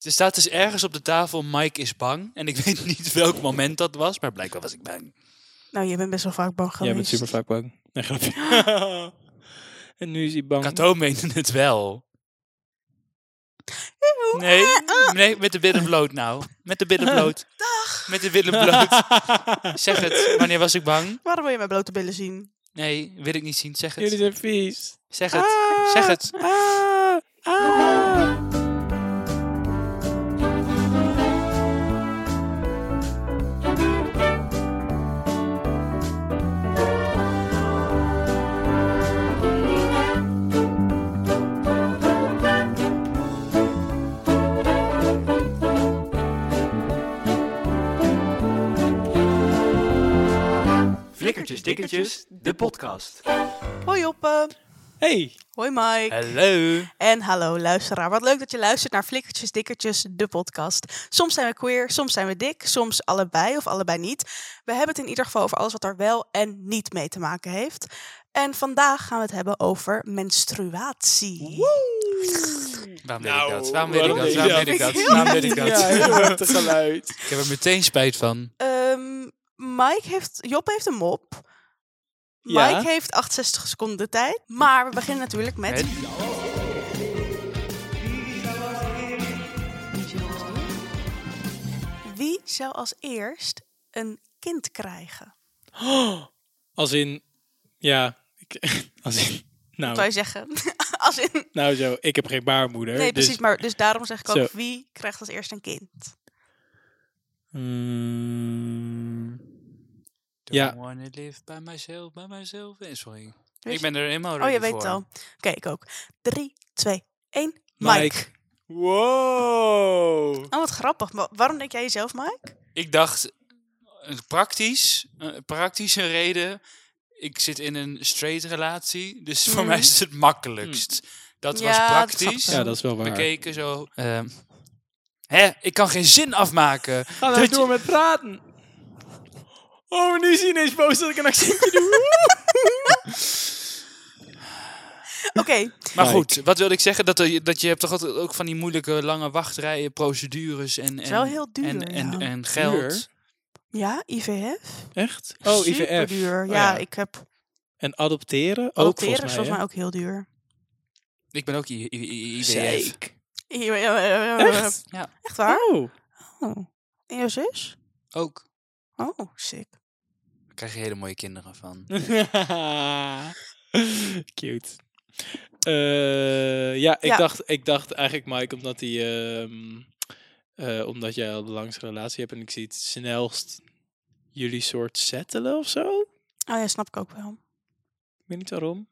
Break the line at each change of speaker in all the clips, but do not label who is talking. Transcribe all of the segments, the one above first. Er staat dus ergens op de tafel, Mike is bang. En ik weet niet welk moment dat was, maar blijkbaar was ik bang.
Nou, je bent best wel vaak bang geweest.
Jij bent super vaak bang. Nee, grapje. en nu is hij bang.
Kato meende het wel. Nee,
Eh,
nee, met de billen bloot nou. Met de billen bloot. Dag. Met de billen bloot. Zeg het, wanneer was ik bang?
Waarom wil je mijn blote billen zien?
Nee, wil ik niet zien. Zeg
Jullie
het.
zijn vies.
Zeg het. Zeg het.
Ah, ah.
Flikkertjes Dikkertjes, de podcast.
Hoi Joppe.
Hey,
Hoi Mike.
Hallo.
En hallo luisteraar. Wat leuk dat je luistert naar Flikkertjes Dikkertjes, de podcast. Soms zijn we queer, soms zijn we dik, soms allebei of allebei niet. We hebben het in ieder geval over alles wat er wel en niet mee te maken heeft. En vandaag gaan we het hebben over menstruatie.
Waarom weet ik
Nou,
dat? Waarom weet ik
waarom
dat?
weet je
Waarom
dat?
weet ik dat? Waarom
Vind ik heel
weet ik
erg.
dat?
ja, heel het geluid.
Ik heb er meteen spijt van.
Ehm, Mike heeft, Job heeft een mop.
Ja.
Mike heeft 68 seconden de tijd. Maar we beginnen natuurlijk met...
Het-
Wie zou als eerst een kind krijgen?
Oh. Als in, ja, ik, als in,
Zou je
nou,
zeggen? als in...
nou zo, ik heb geen baarmoeder.
Nee,
dus,
precies. Maar dus daarom zeg ik ook,
Zo.
wie krijgt als eerst een kind?
Mm,
Don't
Ja.
wanna live by myself, by myself. Eh, Sorry.
Weet
Ik ben er helemaal
Oh,
ready
je weet het
voor.
al. Oké, ik ook. 3, 2, 1. Mike.
Mike. Wow.
Oh, wat grappig. Maar waarom denk jij jezelf Mike?
Ik dacht, een praktisch, een praktische reden. Ik zit in een straight relatie, dus voor
Mm.
mij is het het makkelijkst. Dat was
Hmm. Ja, dat
praktisch.
snap
Ja, dat is wel waar.
Bekeken zo. ehm, hè, ik kan geen zin afmaken.
Ga nou
Dat je-
door met praten. Oh, nu is hij ineens boos dat ik een accentje doe.
Oké,
Maar
Mike.
goed, wat wilde ik zeggen? Dat, er, dat je hebt toch altijd ook van die moeilijke lange wachtrijen, procedures en, en,
is wel heel duur,
en, en,
ja.
en geld.
Duur?
ja, IVF.
Echt? Oh, IVF.
Superduur.
Oh,
ja,
ja.
ik heb
En adopteren? Ook
adopteren is
volgens mij,
volgens mij ook heel duur.
Ik ben ook I- I- I- IVF.
Echt?
Ja,
Echt waar?
Oh.
Oh. En jouw zus?
ook.
Oh, sick.
Daar krijg je hele mooie kinderen van.
Cute. Eh, ja, ik,
Ja.
Dacht, ik dacht eigenlijk Mike, omdat hij... ehm, eh, omdat jij al de langste relatie hebt en ik zie het snelst jullie soort settelen of zo.
Oh ja, snap ik ook wel.
Ik weet niet waarom.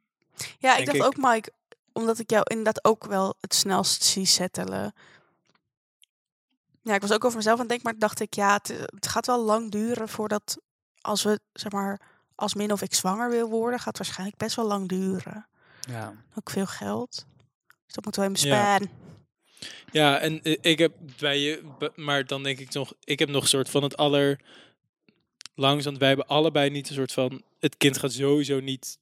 Ja, ik
Denk
dacht
ik.
ook Mike, omdat ik jou inderdaad ook wel het snelst zie settelen. Ja, ik was ook over mezelf aan het denken, maar dacht ik, ja, het, het gaat wel lang duren voordat als we, zeg maar, als min of ik zwanger wil worden, gaat het waarschijnlijk best wel lang duren.
Ja.
Ook veel geld. Dus dat moeten we even
Ja.
sparen.
Ja, en eh, ik heb bij je, b- maar dan denk ik nog, ik heb nog een soort van het aller langs, want wij hebben allebei niet een soort van, het kind gaat sowieso niet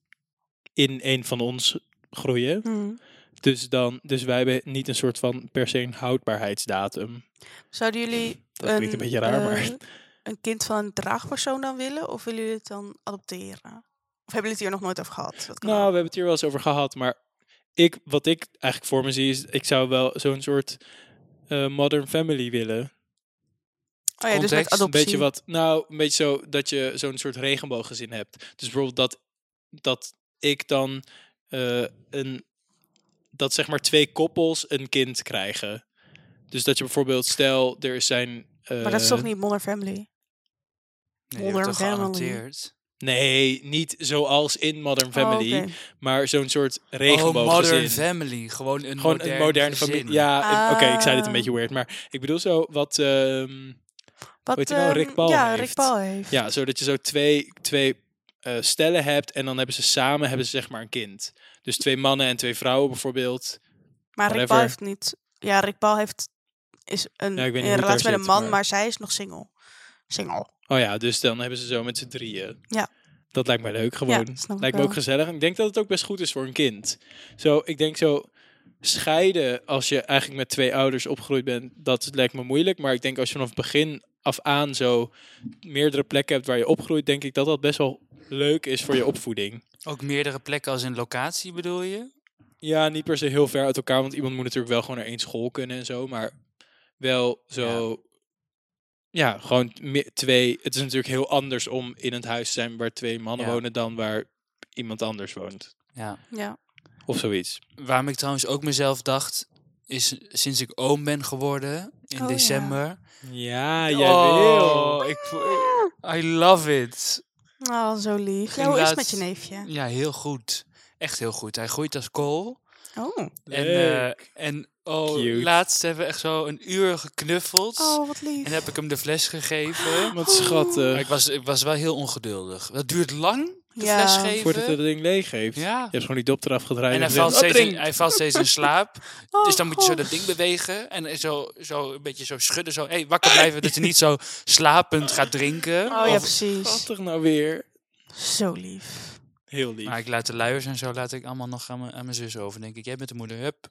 in een van ons groeien.
Hmm.
Dus dan, dus wij hebben niet een soort van per se een
Oh.
houdbaarheidsdatum.
Zouden jullie
Dat klinkt een beetje raar, maar-
eh, een kind van een draagpersoon dan willen? Of willen jullie het dan adopteren? Of hebben jullie het hier nog nooit over gehad? Dat kan
Nou, we
ook.
hebben het hier wel eens over gehad, maar ik, wat ik eigenlijk voor me zie is, ik zou wel zo'n soort eh, modern family willen.
oh ja, dus met
context, een
Een
adoptie.
beetje wat, nou, een beetje zo dat je zo'n soort regenbooggezin hebt. Dus bijvoorbeeld dat, dat ik dan eh, een, dat zeg maar twee koppels een kind krijgen. Dus dat je bijvoorbeeld, stel, er zijn.
Maar dat is
eh,
toch niet Modern Family? Oh,
Nee, die wordt
Modern
toch
Family.
geannoteerd?
Nee, niet zoals in Modern Family,
Oh, oké.
maar zo'n soort
Oh,
regenbooggezin.
Modern Family. Gewoon een
Gewoon
modern
een moderne
gezin.
familie. Ja, een- oké, ik zei dit een
Ah.
beetje weird, maar ik bedoel zo wat. ehm,
Wat,
Weet je wel, nou? Rick
ehm,
Paul
ja, Rick
heeft.
Paul heeft.
Ja, zodat je zo twee, twee eh, stellen hebt en dan hebben ze samen hebben ze zeg maar een kind. Dus twee mannen en twee vrouwen bijvoorbeeld.
maar Rick Paul
whatever.
heeft niet. Ja, Rick Paul heeft is een,
Ja, ik weet niet hoe
in
het daar
relatie met een
zit,
man,
maar-
maar... zij is nog single. Single.
Oh ja, dus dan hebben ze zo met z'n drieën.
Ja.
Dat lijkt mij leuk gewoon.
snap ik
lijkt me
wel.
ook gezellig. En ik denk dat het ook best goed is voor een kind. Zo, ik denk zo, scheiden als je eigenlijk met twee ouders opgegroeid bent, dat lijkt me moeilijk. Maar ik denk als je vanaf het begin af aan zo meerdere plekken hebt waar je opgroeit, denk ik dat dat best wel leuk is voor je opvoeding.
Ook meerdere plekken als in locatie bedoel je?
Ja, niet per se heel ver uit elkaar, want iemand moet natuurlijk wel gewoon naar één school kunnen en zo, maar wel zo. Ja, gewoon me- twee. Het is natuurlijk heel anders om in het huis te zijn waar twee mannen
Ja.
wonen dan waar iemand anders woont.
Ja.
Ja.
Of zoiets.
Waarom ik trouwens ook mezelf dacht, is sinds ik oom ben geworden in
Oh, ja.
december.
Ja,
oh, ik voel- I love it.
Oh, zo lief. Ja,
Ging
hoe is het met
laatst-
je neefje?
Ja, heel goed. Echt heel goed. Hij groeit als kool.
Oh,
En,
Leuk.
eh, en oh,
Cute.
laatst hebben we echt zo een uur geknuffeld.
oh Ah. wat lief.
En heb ik hem de fles gegeven.
Oh, Wat
Maar
schattig.
ik was, ik was wel heel ongeduldig. Dat duurt lang, de
Ja.
fles geven.
Voordat het ding leeg heeft.
Ja.
Je hebt gewoon die dop eraf gedraaid. "Oh,
En hij
gezegd,
valt, steeds in,
"Opdrinken."
hij valt steeds in slaap.
Oh,
dus dan moet je zo
God.
dat ding bewegen. En zo, zo een beetje zo schudden. Zo, hey, wakker blijven. dat je niet zo slapend gaat drinken.
Oh ja,
Of-
precies.
Schattig nou weer.
Zo lief.
Heel lief.
Maar ik laat de luiers en zo laat ik allemaal nog aan mijn, aan mijn zus over. denk ik, jij bent de moeder, hup.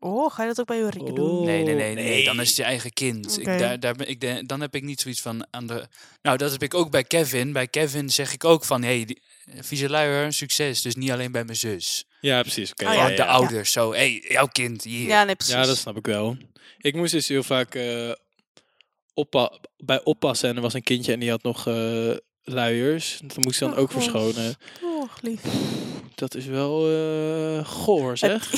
Oh, ga je dat ook bij Ulrike
Oh.
doen?
Nee, nee, nee, nee,
Nee.
Dan is het je eigen kind.
Oh, Oké.
Ik, daar, daar ben, ik, de- dan heb ik niet zoiets van aan de... Nou, dat heb ik ook bij Kevin. Bij Kevin zeg ik ook van, hé, die- vieze luier, succes. Dus niet alleen bij mijn zus.
Ja, precies. Oké.
Oh
ja,
Gewoon
ja,
de
ja.
ouders, zo. Hé, jouw kind, hier.
Ja, nee, precies.
Ja, dat snap ik wel. Ik moest dus heel vaak eh, oppa bij oppassen. En er was een kindje en die had nog eh, luiers. Dat moest ik dan
Oh,
ook
gosh.
verschonen.
Oh, lief.
Dat is wel eh goor, zeg.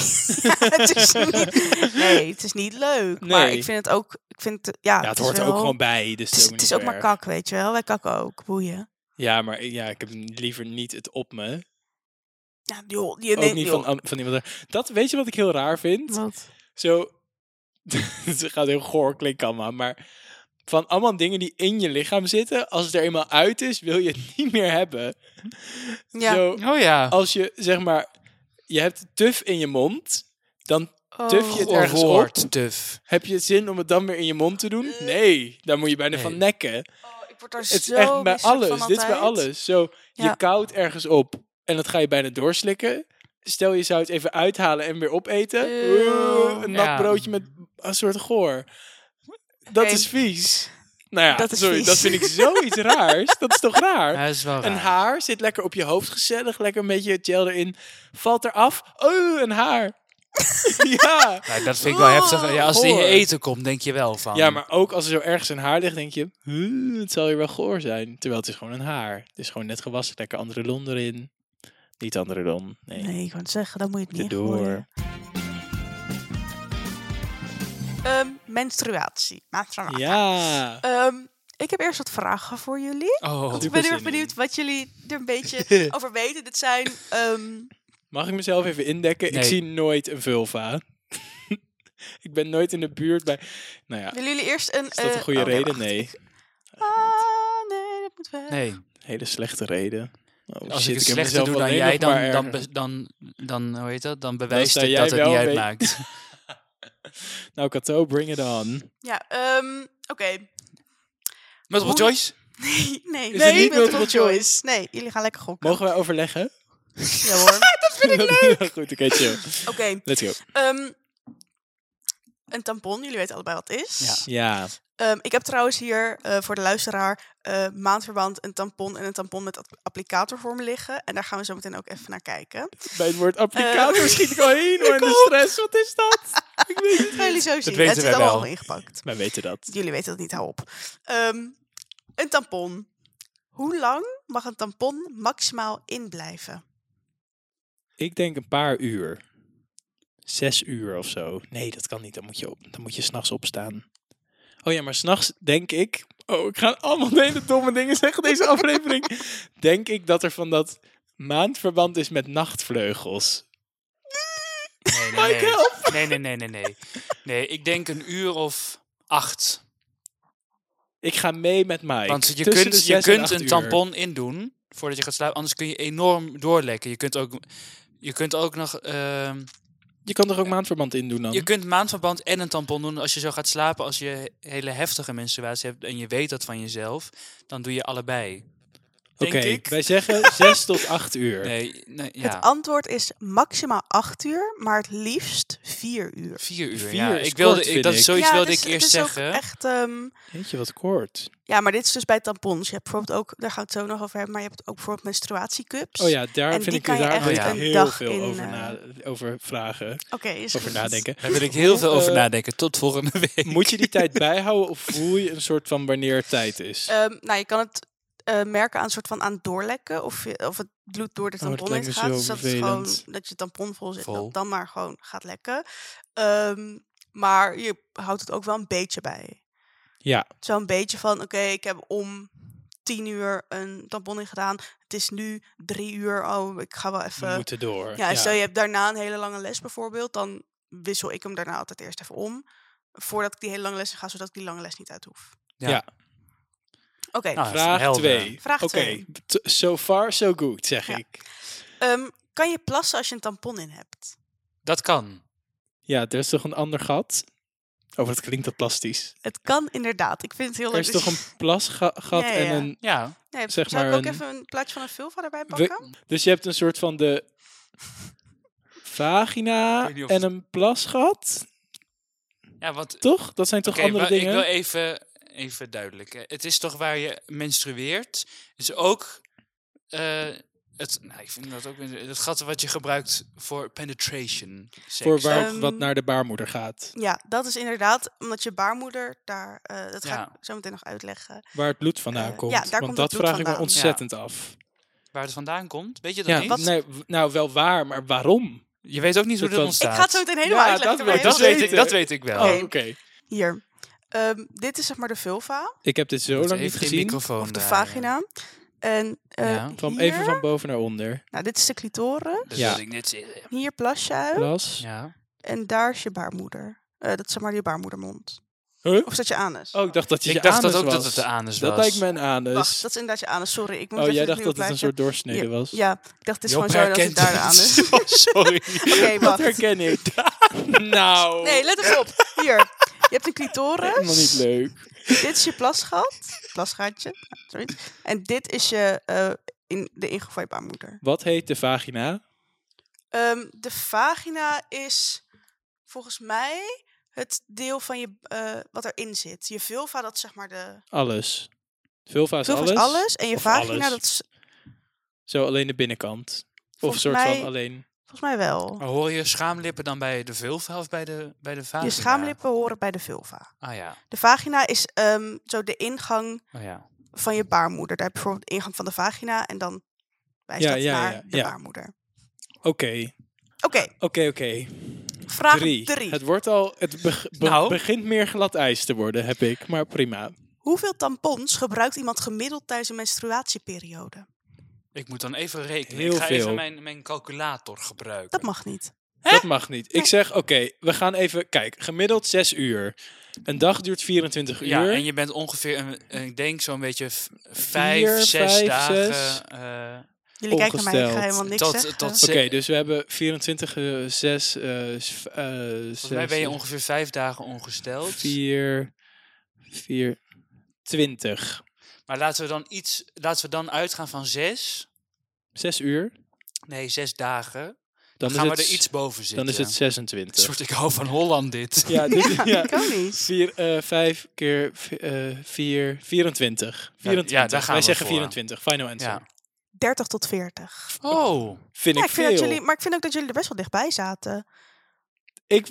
het is niet, nee, het is niet leuk. Maar
Nee.
ik vind het ook... Ik vind het, ja,
Ja, het
is
hoort er ook
wel-
gewoon bij. Dus
Het is, het is ook maar
kak.
kak, weet je wel. Wij kakken ook, boeien.
Ja, maar ik- ja, ik heb liever niet het op me.
Ja, joh, je
ook
neemt
niet van, am- van iemand. anders. Dat weet je wat ik heel raar vind?
Wat?
Zo, het gaat heel goor klinken allemaal, maar van allemaal dingen die in je lichaam zitten, als het er eenmaal uit is, wil je het niet meer hebben.
Ja.
Zo,
Oh ja.
als je zeg maar, je hebt tuf in je mond, dan tuf je het
Oh,
ergens op.
woord, tuf.
Heb je zin om het dan weer in je mond te doen? Nee, daar moet je bijna
Nee.
van nekken.
Oh, ik word daar
Het is
zo
echt bij
misselijk van
alles. Dit is bij
altijd.
alles. Zo,
Ja.
je koudt ergens op en dat ga je bijna doorslikken. Stel, je zou het even uithalen en weer opeten.
Eeuw.
een nat
Ja.
broodje met een soort goor. Dat
Oké.
is vies. Nou ja,
Dat is
sorry,
vies.
dat vind ik zoiets raars. Dat is toch raar?
Ja, dat is wel
Een
raar.
haar zit lekker op je hoofd gezellig. Lekker een beetje gel erin. Valt eraf. Oh, een haar. ja.
Ja, dat vind ik wel heftig. Ja, als het in je
Goor.
eten komt, denk je wel van.
Oh. ja, maar ook als er zo ergens een haar ligt, denk je... "Huh, het zal hier wel goor zijn. Terwijl het is gewoon een haar. Het is gewoon net gewassen. Lekker andere lon erin. Niet andere lon. Nee.
Nee, ik wou het zeggen, dan moet je het niet
Tussendoor.
gooien. Ehm, menstruatie. Menstruatie.
Ja.
Ehm, ik heb eerst wat vragen voor jullie.
Oh,
Ik ben
Super
heel
zin
erg
in.
benieuwd wat jullie er een beetje over weten. Dit zijn... ehm,
Mag ik mezelf even indekken?
Nee.
Ik zie nooit een vulva. ik ben nooit in de buurt bij... Nou ja,
willen jullie eerst een...
is dat een
eh,
goede
oké,
reden?
wacht.
Nee.
Ah, nee, dat moet wel.
nee.
Hele slechte reden. Oh,
Als
shit,
ik het
heb
slechter
mezelf
doe
wel
dan
nee
jij,
nog
dan,
maar
dan,
erger.
be- dan, dan, hoe heet dat? Dan bewijst
sta
het
jij
dat het
wel
niet
een beetje-
uitmaakt.
Nou, Kato, bring it on.
Ja, ehm, oké.
Multiple
Hoe-
choice?
Nee, nee.
Is het niet multiple
Nee, jullie gaan lekker gokken.
Mogen wij overleggen?
Ja hoor.
Vind ik leuk! Goed, oké, chill.
Oké,
Let's go.
ehm, een tampon. Jullie weten allebei wat het is.
Ja.
Ja.
Ehm, ik heb trouwens hier eh, voor de luisteraar eh, maandverband, een tampon en een tampon met ap- applicator voor me liggen. En daar gaan we zo meteen ook even naar kijken.
Bij het woord applicator
Eh,
schiet ik al heen. hoor, en de stress, wat is dat? ik weet
Dat gaan jullie zo zien.
weten
het is
wij
allemaal
wel.
ingepakt.
Wij weten dat.
Jullie weten het niet, hou op. Ehm, een tampon. Hoe lang mag een tampon maximaal inblijven?
Ik denk een paar uur. Zes uur of zo. Nee, dat kan niet. Dan moet je, op, dan moet je s'nachts opstaan. Oh ja, maar s'nachts denk ik... Oh, ik ga allemaal hele domme dingen zeggen deze aflevering. Denk ik dat er van dat maandverband is met nachtvleugels.
Nee, nee, nee. Nee, nee, nee, nee, nee. Nee, ik denk een uur of acht.
Ik ga mee met Mike.
Want je
Tussen de
kunt, je
zes en
kunt
acht
een
uur.
tampon indoen voordat je gaat slapen. Anders kun je enorm doorlekken. Je kunt ook, je kunt ook nog... ehm,
Je kan toch ook maandverband indoen dan?
je kunt maandverband en een tampon doen als je zo gaat slapen. Als je hele heftige menstruatie hebt en je weet dat van jezelf, dan doe je allebei. Denk ik.
wij zeggen 6 tot 8 uur.
Nee, nee
Het
ja.
antwoord is maximaal acht uur, maar het liefst vier uur.
Vier uur.
Vier
ja.
is
Ik wilde,
kort,
ik,
vind
dat is
ik.
zoiets
ja,
wilde
dus
ik
het
eerst
is ook
zeggen.
Echt, ehm,
Weet je wat kort?
ja, maar dit is dus bij tampons. Je hebt bijvoorbeeld ook, daar gaan we het zo nog over hebben, maar je hebt ook bijvoorbeeld menstruatiecups.
Oh ja, daar
En
vind
die
ik
kan je
daar
echt
wil ik
een
heel
dag
veel
in,
over,
eh,
na, over vragen,
Oké, is
over
goed.
nadenken.
Daar wil ik heel veel over
Eh,
nadenken. Tot volgende week.
Moet je die tijd bijhouden of voel je een soort van wanneer het tijd is?
Ehm, nou, je kan het eh, merken aan een soort van aan het doorlekken of, je, of het bloed door de
Oh, dat
tampon
lijkt
heen
me
gaat.
zo
Dus dat is gewoon
vervelend.
dat je tampon vol zit,
Vol.
dat dan maar gewoon gaat lekken. Ehm, maar je houdt het ook wel een beetje bij.
Ja,
Zo'n beetje van, oké, ik heb om tien uur een tampon in gedaan. Het is nu drie uur. Oh, ik ga wel
we
even.
moeten door.
Ja, stel je hebt daarna een hele lange les bijvoorbeeld, dan wissel ik hem daarna altijd eerst even om. Voordat ik die hele lange les in ga, zodat ik die lange les niet uit hoef.
Ja.
Ja.
Oké,
Nou,
Vraag
helder.
2.
Vraag
Oké,
twee.
t- so far so good, zeg
Ja.
ik.
ehm, kan je plassen als je een tampon in hebt?
Dat kan.
Ja, er is toch een ander gat? Oh, wat klinkt dat plastisch.
Het kan inderdaad. Ik vind het heel
Er
leuk.
is
Oh, dat
toch
je-
een plasgat
Ja, ja,
en
ja.
een
Ja.
Nee,
zeg
zou
maar
ik ook
een-
even een plaatje van een vulva erbij
We-
pakken?
dus je hebt een soort van de
Ik
vagina
weet niet of
en
het-
een plasgat,
Ja, want
toch? Dat zijn toch
Oké,
andere
maar
dingen?
Ik wil even, even duidelijk. hè. Het is toch waar je menstrueert. is ook eh, het. Nou, ik vind dat ook weer- het gat wat je gebruikt voor penetration. Seks.
Voor waar,
Ehm,
wat naar de baarmoeder gaat.
Ja, dat is inderdaad omdat je baarmoeder daar. eh, dat ga
Ja.
ik zo meteen nog uitleggen.
Waar het bloed vandaan
eh,
komt.
ja, daar
Want
komt het
dat
bloed
vraag ik me
vandaan.
ontzettend af.
Waar het vandaan komt. Weet je dat
Ja,
niet?
nee, w- nou wel waar, maar waarom?
Je weet ook niet hoe
Dat
dat,
dan-
ontstaat.
Ik ga het zo meteen helemaal
Ja,
uitleggen.
dat dus
maar
wil
dat,
heel
weet
even-
ik, dat weet ik wel.
Oh,
Oké.
oké.
Hier. Ehm, dit is zeg maar de vulva
Ik heb dit zo
Moet
lang niet
even die
gezien.
microfoon
of de
draaien.
vagina. En eh,
Ja.
Van,
hier-
even van boven naar onder.
nou, dit is de
eh,
clitoris.
dus Dat
Ja.
wilde ik net Dus zeggen.
Hier plas je uit.
Plas.
Ja.
En daar is je baarmoeder. Eh, dat is zeg maar je baarmoedermond.
Huh?
Of is dat je anus?
Oh, ik dacht dat je je
Ik dacht dat
anus
ook dat het
was.
de anus
Dat
was.
lijkt me een anus.
Wacht, dat is inderdaad je anus. Sorry, ik moet
dus- oh,
even
jij
het nieuwe
dacht dat het een
plaatje-
soort doorsnede
Ja,
was.
Ja, ik dacht het is
Job
gewoon zo dat
herkent
het daar de
het.
anus.
Oh, sorry.
Oké,
Dat
wacht.
herken ik. nou,
Nee, let eens op. Hier. Je hebt een clitoris.
helemaal niet leuk.
Dit is je plasgat. Plasgaatje. Ja, Sorry. En dit is je, eh, in, de ingegooide baarmoeder.
Wat heet de vagina?
Ehm, de vagina is volgens mij het deel van je, eh, wat erin zit. Je vulva, dat is zeg maar de...
Alles. Vulva is
Vulva
alles.
is alles. En je
Of
vagina,
alles.
dat is
Zo alleen de binnenkant. Of een
Volgens
soort
mij-
van alleen.
volgens mij wel.
Oh,
Maar hoor je schaamlippen dan bij de vulva of bij de, bij de vagina?
Je schaamlippen horen bij de vulva.
Ah ja.
De vagina is ehm, zo de ingang
Oh, ja.
van je baarmoeder. Daar heb je bijvoorbeeld de ingang van de vagina en dan wijst
Ja,
dat
ja,
naar
ja,
de
ja.
baarmoeder.
Oké,
Oké,
oké, oké.
vraag
Drie.
drie.
Het wordt al. Het beg- be-
Nou.
begint meer glad ijs te worden, heb ik. Maar prima.
Hoeveel tampons gebruikt iemand gemiddeld tijdens een menstruatieperiode?
Ik moet dan even rekenen.
Heel
ik ga
veel.
even mijn, mijn calculator gebruiken.
Dat mag niet.
Dat mag niet. Ik zeg, oké, we gaan even. Kijk, gemiddeld 6 uur. Een dag duurt 24 uur.
Ja, en je bent ongeveer, een, een- ik denk zo'n beetje v- vijf,
Vier,
zes
vijf,
dagen.
zes.
eh,
Jullie kijken naar mij, ik ga
Ongesteld.
helemaal niks
Tot-
zeggen.
tot-
Oké, dus we hebben 24, eh, 6, eh s- eh,
volgens mij ben je
6,
ongeveer vijf dagen ongesteld.
4, 4, 20.
Maar laten we dan iets, laten we dan uitgaan van zes.
6 uur.
Nee, zes dagen. Dan,
Dan,
gaan
is
we
het,
er iets boven zitten.
Dan is het
Een
26.
soort, ik hou van Holland dit.
Ja, dit, ja,
Ik ook niet.
4, 5 eh, keer eh, 4, 24. 24.
ja, daar gaan
Wij
we
zeggen
voor.
24, final answer.
Ja.
30 tot 40.
Oh,
Vind
Ja,
ik
ik vind
veel.
dat jullie, maar ik vind ook dat jullie er best wel dichtbij zaten.
Ik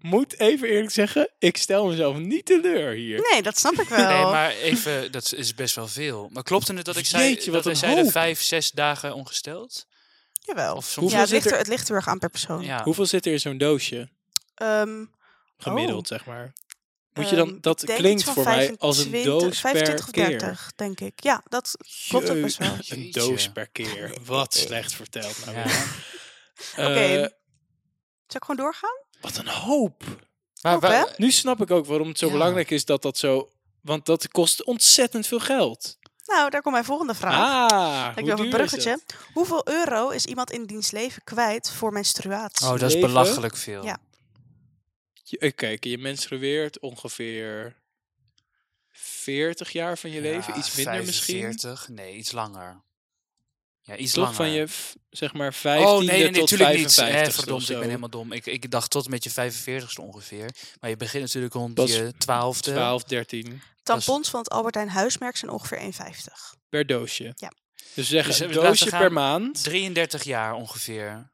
moet even eerlijk zeggen, ik stel mezelf niet teleur hier.
Nee, dat snap ik wel.
nee,
Nou.
maar even, dat is best wel veel. Maar klopte het dat ik zei,
Jeetje, wat
dat wij
een
zeiden
hoop.
vijf, zes dagen ongesteld?
Jawel.
Of soms...
Hoeveel
Ja, het
zit
ligt, er,
er-
het ligt er heel erg aan per persoon.
Ja.
Hoeveel zit er in zo'n doosje?
Ehm,
Gemiddeld,
Oh.
zeg maar. Moet je
ehm,
dan, dat
ik denk
klinkt
iets van
voor mij als een
25
doos
25
per
of
keer.
30, denk ik. Ja, dat klopt ook best wel. Oké,
Een
Jeetje.
doos per keer. Wat slecht verteld. Nou
Ja.
weer. Eh,
zal ik gewoon doorgaan?
wat een hoop.
Maar,
Knap, hè?
waar-
Nu snap ik ook waarom het zo
Ja.
belangrijk is dat dat zo... Want dat kost ontzettend veel geld.
Nou, daar komt mijn volgende vraag.
Ah,
Ik
hoe
wil
duur
een bruggetje. Hoeveel euro is iemand in diens leven kwijt voor menstruatie?
Oh, dat is
Leven.
belachelijk veel.
Ja.
eh, Kijk, je menstrueert ongeveer 40 jaar van je leven,
Ja,
iets minder misschien.
45? Nee, iets langer. Ja, iets
Toch
langer.
van je, v- zeg maar, 15
oh, nee, nee,
tot
natuurlijk niet.
55
Hè, verdomd, ik ben helemaal dom. Ik, ik dacht tot met je 45ste ongeveer. Maar je begint natuurlijk rond
Pas
je 12e.
12, 13
Tampons van het Albert Heijn huismerk zijn ongeveer 1,50.
per doosje.
Ja.
Dus we zeggen
Dus, eh,
een
laten we
doosje
gaan-
per maand.
33 jaar ongeveer.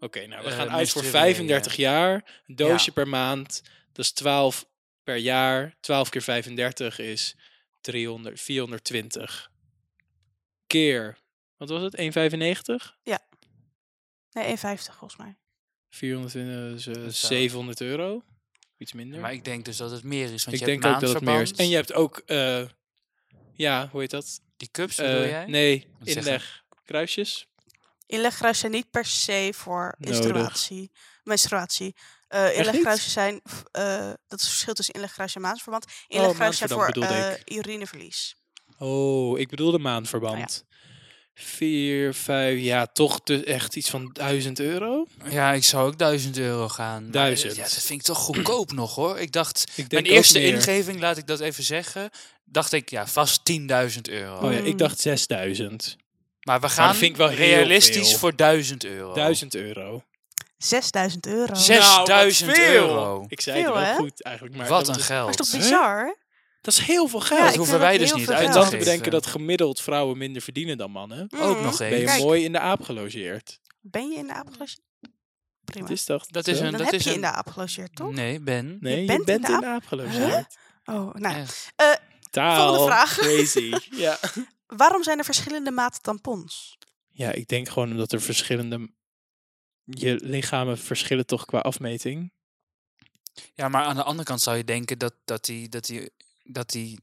Oké, nou, we
Eh,
gaan uit voor
menstrueren, ja.
35 jaar. Een doosje per maand. Dat is 12 per jaar. 12 keer 35 is 300, 420. Keer, wat was het? 1,95?
Nee, 1,50 volgens mij.
420 is eh,
zou-
700 euro. Iets minder.
Maar ik denk dus dat het meer is. Want
ik
je
denk
hebt
ook dat het meer is. En
maandverband.
je hebt ook, eh, ja, hoe heet dat?
Die cups
Eh,
bedoel jij?
Nee,
Wat zeggen?
inleg. Kruisjes?
Inleggruis zijn niet per se voor
Nodig.
menstruatie. menstruatie. Eh inleggruisen zijn, f- eh, dat is het verschil tussen inleggruis en maansverband.
Oh,
Inleggruis zijn voor
maandverband bedoelde
eh, urineverlies.
Oh, ik bedoelde
Nou
maandverband. 4, 5, ja, toch te- echt iets van 1000 euro?
Ja, ik zou ook 1000 euro gaan. Maar, eh,
1000.
Ja, dat vind ik toch goedkoop nog hoor. Ik dacht,
Ik denk
mijn
ook
eerste
meer.
ingeving, laat ik dat even zeggen. Dacht ik, ja, vast 10.000 euro.
Oh ja,
Mm.
ik dacht 6000.
Maar we
Maar
gaan
dat vind ik wel heel
realistisch
veel.
voor 1000 euro.
1000 euro.
6000 euro.
Zes- 6000
Nou, wat veel.
euro.
Ik zei het
Veel,
wel
hè?
goed eigenlijk. Maar
Wat
dat
een
was-
Maar is
geld.
toch
Hè?
bizar?
Dat is heel veel
Ja,
geld.
ik
dat
vind
hoeven wij
dat
dus
heel
niet
veel
uit
en
te
geld.
dan
dacht
geven.
te bedenken dat gemiddeld vrouwen minder verdienen dan mannen.
Ook
Mm.
nog
Ben je
eens.
Kijk.
mooi in de aap gelogeerd.
Ben je in de aap gelogeerd? Prima.
Wat is dat?
Dat is
Zo?
een-
Dan heb je
een- Mm.
in de aap gelogeerd, toch?
Nee, Ben.
Nee, je
bent in
bent,
de
in de aap gelogeerd.
Oh, nou.
Echt.
Taal.
Volgende vraag.
Crazy. ja.
Waarom zijn er verschillende maten tampons?
ja, ik denk gewoon omdat er verschillende... Je lichamen verschillen toch qua afmeting.
Ja, maar aan de andere kant zou je denken dat, dat die... Dat die, dat die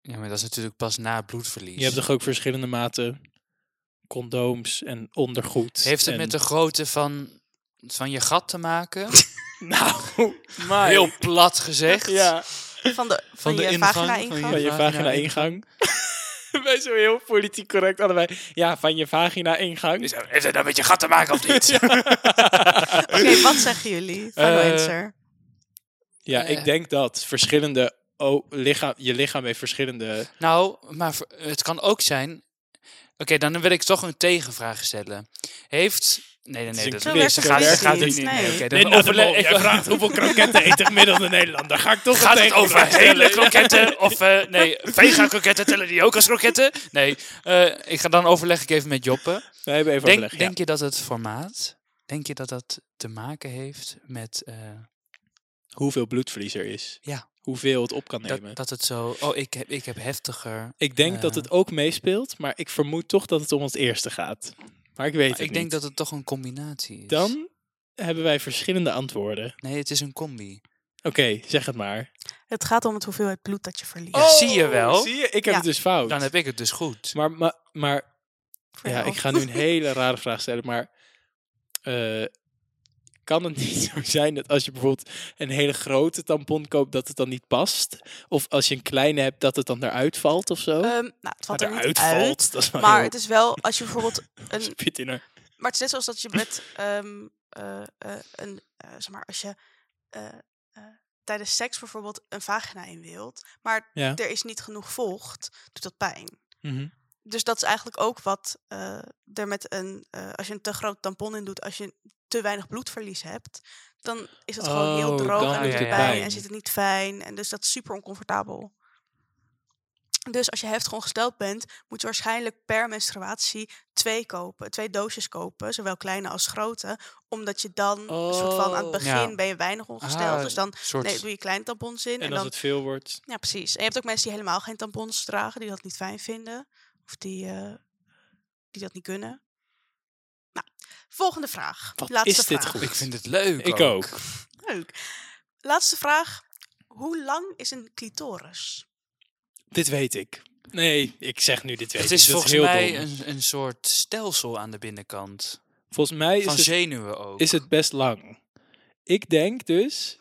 ja, maar dat is natuurlijk pas na bloedverlies.
Je hebt toch ook verschillende maten condooms en ondergoed.
Heeft het
en-
met de grootte van, van je gat te maken?
Nou, maar...
Heel plat gezegd.
Ja.
Van de, van
de
je
ingang,
vagina
van je-
ingang?
Van je
vagina
vagina ingang. Wij zo heel politiek correct allebei. Ja, van je vagina ingang.
Heeft het nou met je gat te maken of niet?
Oké, wat zeggen jullie? Final
Eh,
answer.
Ja,
Eh.
ik denk dat verschillende o- lichaam, je lichaam heeft verschillende.
Nou, maar v- het kan ook zijn. Oké, dan wil ik toch een tegenvraag stellen. Heeft. Nee, nee,
is
nee.
een
Dat,
quiz,
dat
zo
gaat,
werkt
dat
het
gaat
niet.
niet. Nee,
Nee.
oké, dan
Nee, nou,
overleg-
de mol. Jij vraagt hoeveel kroketten eet een gemiddelde Nederlander. Ga ik toch
Gaat het
tegen
over hele kroketten of eh nee, vega kroketten tellen die ook als kroketten? Nee, eh, ik ga dan overleg ik even met Joppe.
We hebben even
Denk,
overleg. ja.
denk je dat het formaat, denk je dat dat te maken heeft met eh,
Hoeveel bloedverlies er is.
Ja.
Hoeveel het op kan nemen.
dat, dat het zo, oh ik heb, ik heb heftiger.
ik denk dat
eh.
het ook meespeelt, maar ik vermoed toch dat het om het eerste gaat. Maar ik weet
Maar
het
ik denk
niet.
dat het toch een combinatie is.
Dan hebben wij verschillende antwoorden.
Nee, het is een combi.
Oké, zeg het maar.
Het gaat om het hoeveelheid bloed dat je verliest.
Oh, zie je wel?
Zie je? Ik heb
Ja.
het dus fout.
Dan heb ik het dus goed.
Maar, maar, maar
Voor
ja,
jou.
ik ga nu een hele rare vraag stellen, maar eh, kan het niet zo zijn dat als je bijvoorbeeld een hele grote tampon koopt, dat het dan niet past? Of als je een kleine hebt, dat het dan eruit valt of zo?
Ehm, nou, het valt er
Maar Oh.
niet
eruit
uit.
valt, dat is wel
Maar
heel
het is wel, als je bijvoorbeeld een...
spit in haar.
Maar het is net zoals dat je met... ehm, eh, eh, een, eh, zeg maar, als je eh, eh, tijdens seks bijvoorbeeld een vagina in wilt... maar
Ja.
er is niet genoeg vocht, doet dat pijn.
Mhm.
Dus dat is eigenlijk ook wat eh, er met een... eh, als je een te groot tampon in doet, als je te weinig bloedverlies hebt... dan is het gewoon heel
Oh,
droog
dan
en
doet
doet je
het
pijn
pijn.
en zit het niet fijn. En dus dat is super oncomfortabel. Dus als je heftig ongesteld bent, moet je waarschijnlijk per menstruatie twee kopen. Twee doosjes kopen, zowel kleine als grote. Omdat je dan, soort van aan het
Oh.
begin,
Ja.
ben je weinig ongesteld.
Ah,
dus dan
soort...
nee, doe je kleine tampons in. En,
En
dan,
als het veel wordt,
ja, precies. En je hebt ook mensen die helemaal geen tampons dragen, die dat niet fijn vinden. Of die, eh, die dat niet kunnen. Nou, volgende vraag.
Wat
Laatste
is dit
vraag.
goed?
Ik vind het leuk.
ik ook.
Leuk. Laatste vraag. Hoe lang is een clitoris?
Dit weet ik. Nee, ik zeg nu dit
Het
weet ik. dus
is
Dat
volgens
heel
mij
dom.
een, een soort stelsel aan de binnenkant.
Volgens mij is
Van
het
zenuwen ook.
is het best lang. Ik denk dus.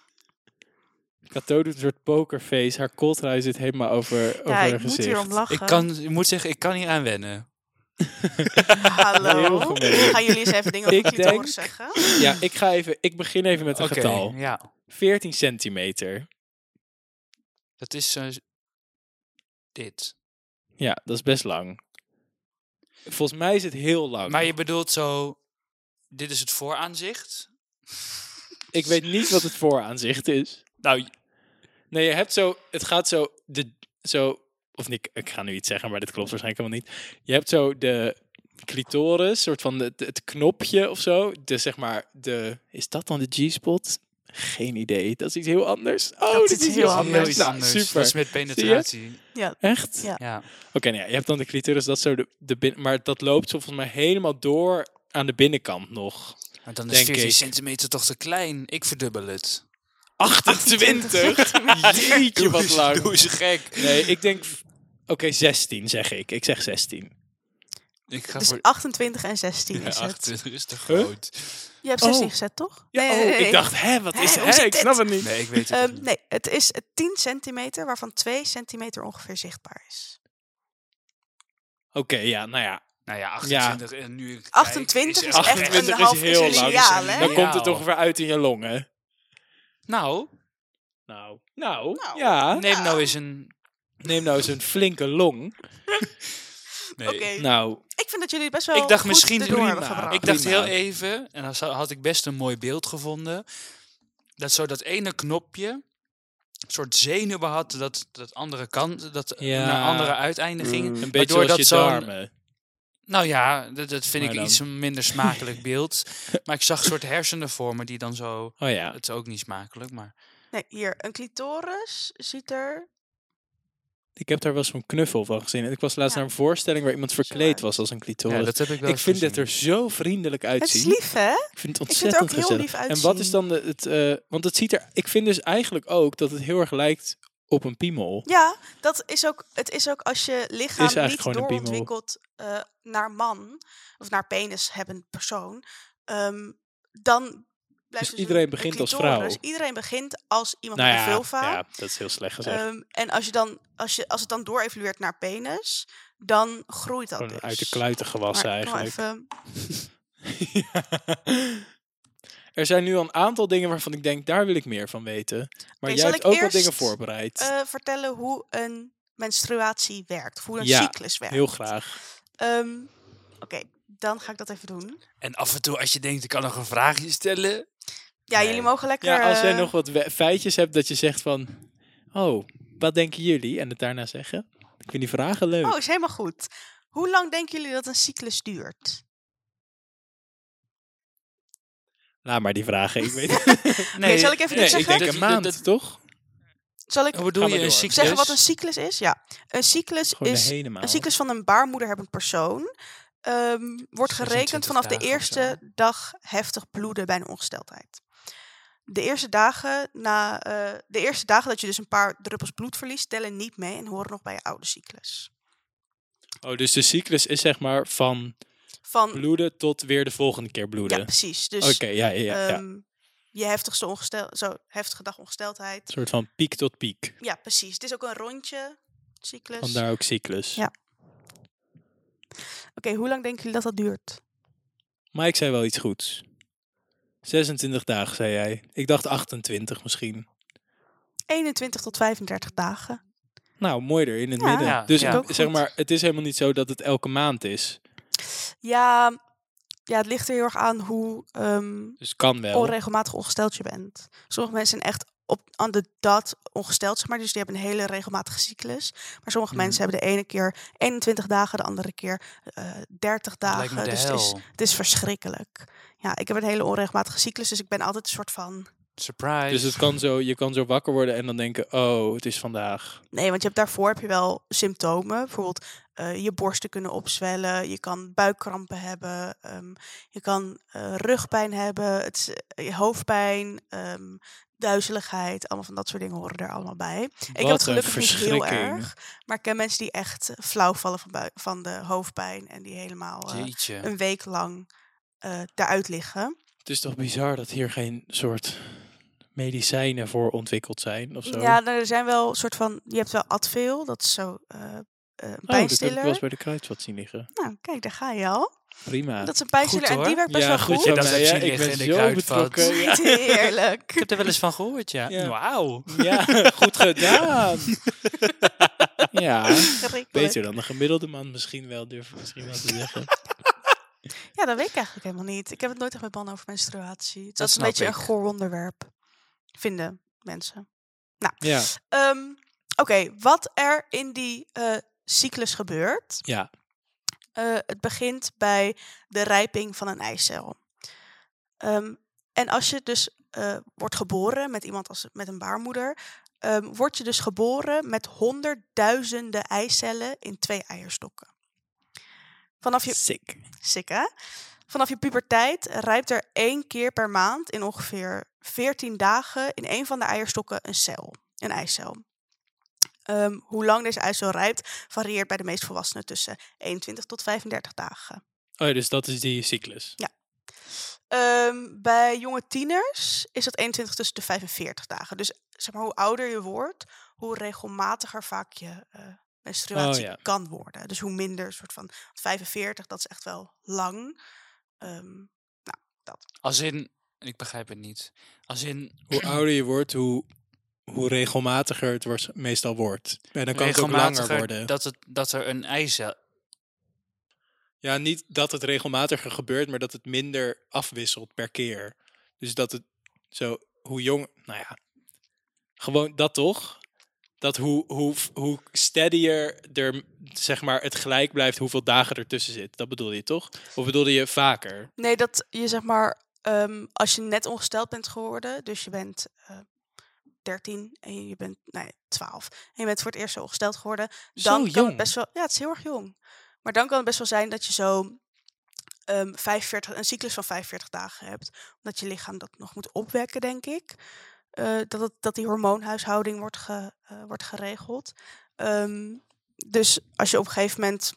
Kato doet een soort pokerface. Haar kooltrui zit helemaal over, over
Ja,
haar
ik
gezicht.
moet hier om lachen.
ik, kan, ik moet zeggen, ik kan hier aan wennen.
Hallo.
Heel gemeen.
Gaan jullie eens even dingen over
Ik
clitoris
denk-
zeggen?
Ja, ik, ga even, ik begin even met een getal.
ja.
14 centimeter.
Dat is eh, dit.
Ja, dat is best lang. Volgens mij is het heel lang.
Maar je bedoelt zo, dit is het vooraanzicht.
Ik weet niet wat het vooraanzicht is.
Nou,
Nee, je hebt zo, het gaat zo, de, zo, of niet, ik ga nu iets zeggen, maar dit klopt waarschijnlijk helemaal niet. Je hebt zo de clitoris, soort van het, het knopje of zo. De, zeg maar, de, is dat dan de G-spot? Geen idee, dat is iets heel anders. Oh,
is
dit
iets heel
heel
anders.
iets
Nou,
anders.
super.
Dat is met penetratie.
Echt?
Ja.
Ja.
Oké, nou ja, je hebt dan de clitoris, dat is zo de, de bin- maar dat loopt zo volgens mij helemaal door aan de binnenkant nog.
Maar dan is
Denk
14
ik.
centimeter toch te klein. Ik verdubbel het.
28? Jeetje, wat lang.
Doe ze gek.
Nee, ik denk. v- Oké, 16 zeg ik. Ik zeg 16.
Ik ga
Dus
voor
28 en 16
ja,
is het.
8 is te
Huh?
groot.
Je hebt 16
Oh.
gezet, toch?
Ja,
Nee, nee,
oh,
nee, nee.
ik dacht, hè, wat is
Hè,
hè?
hoe zit
ik
dit?
snap het niet.
Nee, ik weet het
Ehm,
niet.
nee, het is eh, 10 centimeter, waarvan 2 centimeter ongeveer zichtbaar is.
Oké, ja, nou ja.
Nou ja, 28 en nu ik kijk,
28 is echt
28
een
is
half
heel lang.
lineaal, hè?
Dan
Ja,
komt het
hoor.
toch weer uit in je longen.
Nou,
Nou, nou,
Nou.
ja.
neem nou eens een...
Neem nou eens een flinke long.
Nee.
Oké,
Nou,
ik vind dat jullie het best wel
Ik dacht
goed
misschien
erdoor
prima.
hebben gebracht.
Ik dacht
Prima.
heel even, en dan zou- had ik best een mooi beeld gevonden, dat zo dat ene knopje een soort zenuwen had, dat, dat andere kant, dat
Ja. Mm.
naar andere uiteinden ging.
een beetje
Waardoor
zoals
dat
je
zo'n-
darmen.
Nou ja, dat, dat vind
Maar
ik
dan-
iets een minder smakelijk beeld. maar ik zag een soort hersenen voor me die dan zo...
Oh ja.
Het is ook niet smakelijk, maar...
Nee, hier, een clitoris ziet er...
Ik heb daar wel zo'n knuffel van gezien. En ik was laatst
Ja.
naar een voorstelling waar iemand verkleed
uit.
was als een clitoris.
Ja, dat heb ik wel
ik
eens
vind het
gezien.
er zo vriendelijk
Het is
uitzien.
lief, hè?
Ik vind het
Ik vind het er
ontzettend
ook heel
gezellig.
lief uitzien.
En wat is dan de- het... eh, want het ziet er... Ik vind dus eigenlijk ook dat het heel erg lijkt op een piemel.
Ja, dat is ook, het is ook als je lichaam
eigenlijk
niet
gewoon een piemel.
doorontwikkelt eh, naar man, of naar penis hebben persoon, ehm, dan blijft
Dus
een-
iedereen
een
begint als
clitoris.
vrouw?
Iedereen begint als iemand
nou
met een
ja,
vulva.
ja, dat is heel slecht gezegd.
Ehm, en als, je dan, als, je, als het dan doorevalueert naar penis, dan groeit dat
Gewoon
dus.
uit de kluiten gewassen
Maar ik wil
eigenlijk.
even-
er zijn nu al een aantal dingen waarvan ik denk, daar wil ik meer van weten. Maar
Oké,
jij
zal
hebt
ik
ook wat
eerst,
dingen voorbereid.
eh, vertellen hoe een menstruatie werkt, hoe een
Ja,
cyclus werkt.
heel graag.
Ehm, Oké, dan ga ik dat even doen.
En af en toe, als je denkt, ik kan nog een vraagje stellen...
Ja,
Nee.
jullie mogen lekker.
Ja, als jij
eh,
nog wat we- feitjes hebt dat je zegt van... Oh, wat denken jullie? En het daarna zeggen. Ik vind die vragen leuk.
Oh, is helemaal goed. Hoe lang denken jullie dat een cyclus duurt?
Laat maar die vragen. Ik weet het.
Nee, zal ik even
nee,
niet
ik
zeggen?
denk een maand, toch?
Zal ik
Hoe bedoel
Ga
je
maar
een
door.
cyclus?
zeggen wat een cyclus is? Ja, een cyclus
Gewoon
is
de hele maand.
een cyclus dus van een baarmoederhebbend persoon. ehm, wordt
26
gerekend vanaf de
dagen of
eerste dag heftig bloeden bij een ongesteldheid. De eerste, dagen na, eh, de eerste dagen dat je dus een paar druppels bloed verliest, tellen niet mee en horen nog bij je oude cyclus.
Oh, dus de cyclus is zeg maar van
Van,
bloeden tot weer de volgende keer bloeden.
ja, precies. Dus
Oké, ja, ja, ja, ja.
ehm, je heftigste ongestel, zo, heftige dag ongesteldheid.
Een soort van piek tot piek.
Ja, precies. Het is ook een rondje cyclus.
Vandaar ook cyclus.
Ja. Oké, hoe lang denken jullie dat dat duurt?
Maar ik zei wel iets goeds. 26 dagen, zei jij. Ik dacht 28 misschien.
21 tot 35 dagen.
Nou, mooi er in het
Ja.
midden.
Ja,
dus
ja.
m-
Ook goed.
zeg maar, het is helemaal niet zo dat het elke maand is.
Ja, ja het ligt er heel erg aan hoe ehm,
Dus kan wel.
onregelmatig ongesteld je bent. Sommige mensen zijn echt op aan de dat ongesteld, zeg maar. Dus die hebben een hele regelmatige cyclus. Maar sommige
Mhm.
mensen hebben de ene keer 21 dagen, de andere keer eh 30
Dat lijkt
dagen.
me de
dus het is,
hel.
het is verschrikkelijk. Ja, ik heb een hele onregelmatige cyclus, dus ik ben altijd een soort van...
Surprise.
Dus het kan zo, je kan zo wakker worden en dan denken, oh, het is vandaag.
Nee, want je hebt, daarvoor heb je wel symptomen. Bijvoorbeeld eh, je borsten kunnen opzwellen. Je kan buikkrampen hebben. ehm, je kan eh, rugpijn hebben. Het, is, eh, je hoofdpijn. ehm, duizeligheid. Allemaal van dat soort dingen horen er allemaal bij. ik heb het
Wat een
gelukkig niet heel
verschrikking.
erg. Maar ik ken mensen die echt eh, flauw vallen van, bui- van de hoofdpijn. En die helemaal eh,
Jeetje.
een week lang eh, daaruit liggen.
Het is toch bizar dat hier geen soort medicijnen voor ontwikkeld zijn of zo?
Ja, nou, er zijn wel soort van... Je hebt wel Advil. Dat is zo eh eh,
oh, dat heb ik
pijnstiller.
wel eens bij de kruidvat zien liggen.
Nou, kijk, daar ga je al.
Prima.
Dat is een pijnstiller
Goed,
en die
hoor.
werkt best wel
goed
goed.
Je
zo,
hebt dat
Meijer.
zien
ik
liggen
ben
in de
zo
kruidvat.
betrokken. Ja,
Ik
Heerlijk.
heb er wel eens van gehoord, ja.
Ja.
Wauw.
ja, goed gedaan. ja,
Verrukkelijk.
beter dan de gemiddelde man misschien wel, durf ik misschien wel te zeggen.
Ja, dat weet ik eigenlijk helemaal niet. Ik heb het nooit echt met mannen over menstruatie. Het
Dat
is een
snap
beetje een
ik.
goor onderwerp. Vinden mensen.
Ja,
Ehm, Oké, wat er in die eh, cyclus gebeurt.
ja.
Eh, het begint bij de rijping van een eicel. Ehm, en als je dus eh, wordt geboren met iemand als met een baarmoeder, ehm, word je dus geboren met honderdduizenden eicellen in twee eierstokken. Vanaf je
sick.
Sick, hè? Vanaf je puberteit rijpt er één keer per maand in ongeveer 14 dagen in één van de eierstokken een cel, een eicel. Ehm, hoe lang deze eicel rijpt varieert bij de meest volwassenen tussen 21 tot 35 dagen.
Oh ja, dus dat is die cyclus.
Ehm, bij jonge tieners is dat 21 tussen de 45 dagen. Dus zeg maar, hoe ouder je wordt, hoe regelmatiger vaak je eh, menstruatie
Oh, ja.
kan worden. Dus hoe minder soort van 45, dat is echt wel lang. Ehm,
Als in, ik begrijp het niet. Als in,
Hoe ouder je wordt, hoe, hoe regelmatiger het was, meestal wordt. En dan kan het ook langer worden.
regelmatiger dat, het, dat er een eicel...
Ja, niet dat het regelmatiger gebeurt, maar dat het minder afwisselt per keer. Dus dat het zo, hoe jong, nou ja, gewoon dat toch? Dat hoe, hoe, hoe steadier er, zeg maar, het gelijk blijft hoeveel dagen ertussen zit. Dat bedoelde je toch? Of bedoelde je vaker?
Nee, dat je zeg maar, ehm, als je net ongesteld bent geworden, dus je bent eh 13 en je bent, nee, 12. En je bent voor het eerst zo ongesteld geworden, dan kan het
jong.
best wel, ja, het is heel erg jong. Maar dan kan het best wel zijn dat je zo ehm 45, een cyclus van 45 dagen hebt, omdat je lichaam dat nog moet opwekken, denk ik. Eh, dat, het, dat die hormoonhuishouding wordt, ge, eh, wordt geregeld. Ehm, dus als je op een gegeven moment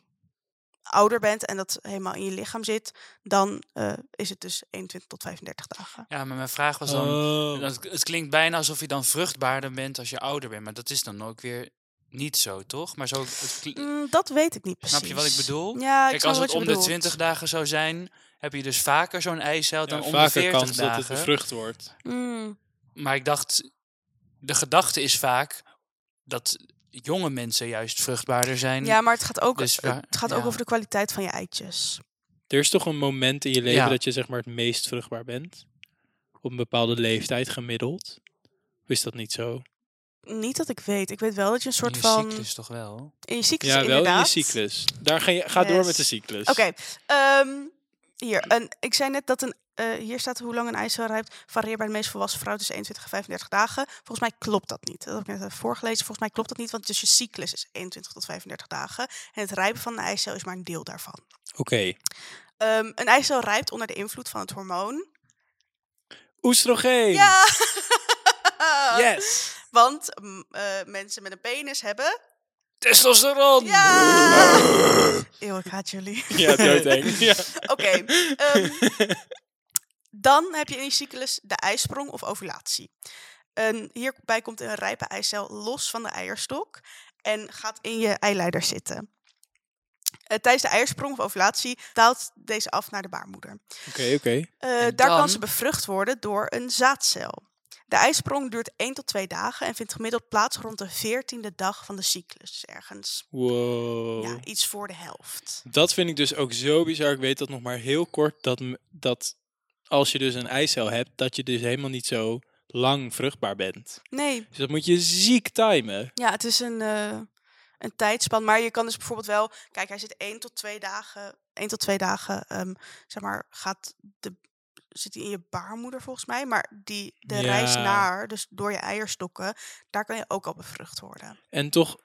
ouder bent en dat helemaal in je lichaam zit, dan eh, is het dus 21 tot 35 dagen.
Ja, maar mijn vraag was dan...
Oh.
dat- het klinkt bijna alsof je dan vruchtbaarder bent als je ouder bent. Maar dat is dan ook weer niet zo, toch? Maar zo... het kli-
Mm, dat weet ik niet precies.
Snap je wat ik bedoel?
Ja, ik
Kijk,
snap
als
wat
het
je
om de
bedoelt.
20 dagen zou zijn, heb je dus vaker zo'n eicel dan
Ja,
om de
vaker
40
kans dat
dagen.
het een vrucht wordt.
Mm,
Maar ik dacht, de gedachte is vaak dat jonge mensen juist vruchtbaarder zijn.
ja, maar het gaat, ook,
Dus waar-
het gaat ook
ja.
over de kwaliteit van je eitjes.
Er is toch een moment in je leven
Ja.
dat je zeg maar het meest vruchtbaar bent? Op een bepaalde leeftijd gemiddeld? Of is dat niet zo?
Niet dat ik weet. Ik weet wel dat je een
In
soort
je
van...
cyclus toch wel?
In je cyclus,
Ja, wel in je
inderdaad.
cyclus. Daar ga, je, ga door
Yes.
met de cyclus.
Oké, ehm, hier. Een, ik zei net dat een, eh, hier staat hoe lang een eicel rijpt. Varieert bij de meest volwassen vrouw tussen 21 en 35 dagen. Volgens mij klopt dat niet. Dat heb ik net even voorgelezen. Volgens mij klopt dat niet, want dus je cyclus is 21 tot 35 dagen. En het rijpen van een eicel is maar een deel daarvan.
Oké.
Ehm, een eicel rijpt onder de invloed van het hormoon.
Oestrogeen.
Ja!
Yes.
Want mm, eh, mensen met een penis hebben...
Testosteron!
Ja! Eeuw, ik haat jullie.
Ja, doodeng. ja.
Oké. ehm, dan heb je in je cyclus de eisprong of ovulatie. En hierbij komt een rijpe eicel los van de eierstok en gaat in je eileider zitten. Eh, tijdens de eiersprong of ovulatie daalt deze af naar de baarmoeder.
Oké, oké.
Eh,
En
daar kan
dan?
ze bevrucht worden door een zaadcel. De eisprong duurt 1 tot 2 dagen en vindt gemiddeld plaats rond de 14e dag van de cyclus ergens.
Wow.
Ja, iets voor de helft.
Dat vind ik dus ook zo bizar. Ik weet dat nog maar heel kort. Dat, m- dat als je dus een eicel hebt, dat je dus helemaal niet zo lang vruchtbaar bent.
Nee,
Dus dat moet je ziek timen.
Ja, het is een, eh, een tijdspan. Maar je kan dus bijvoorbeeld wel. Kijk, hij zit één tot twee dagen. één tot twee dagen, ehm, zeg maar, gaat de, zit hij in je baarmoeder volgens mij. Maar die, de
Ja.
reis naar, dus door je eierstokken, daar kan je ook al bevrucht worden.
En toch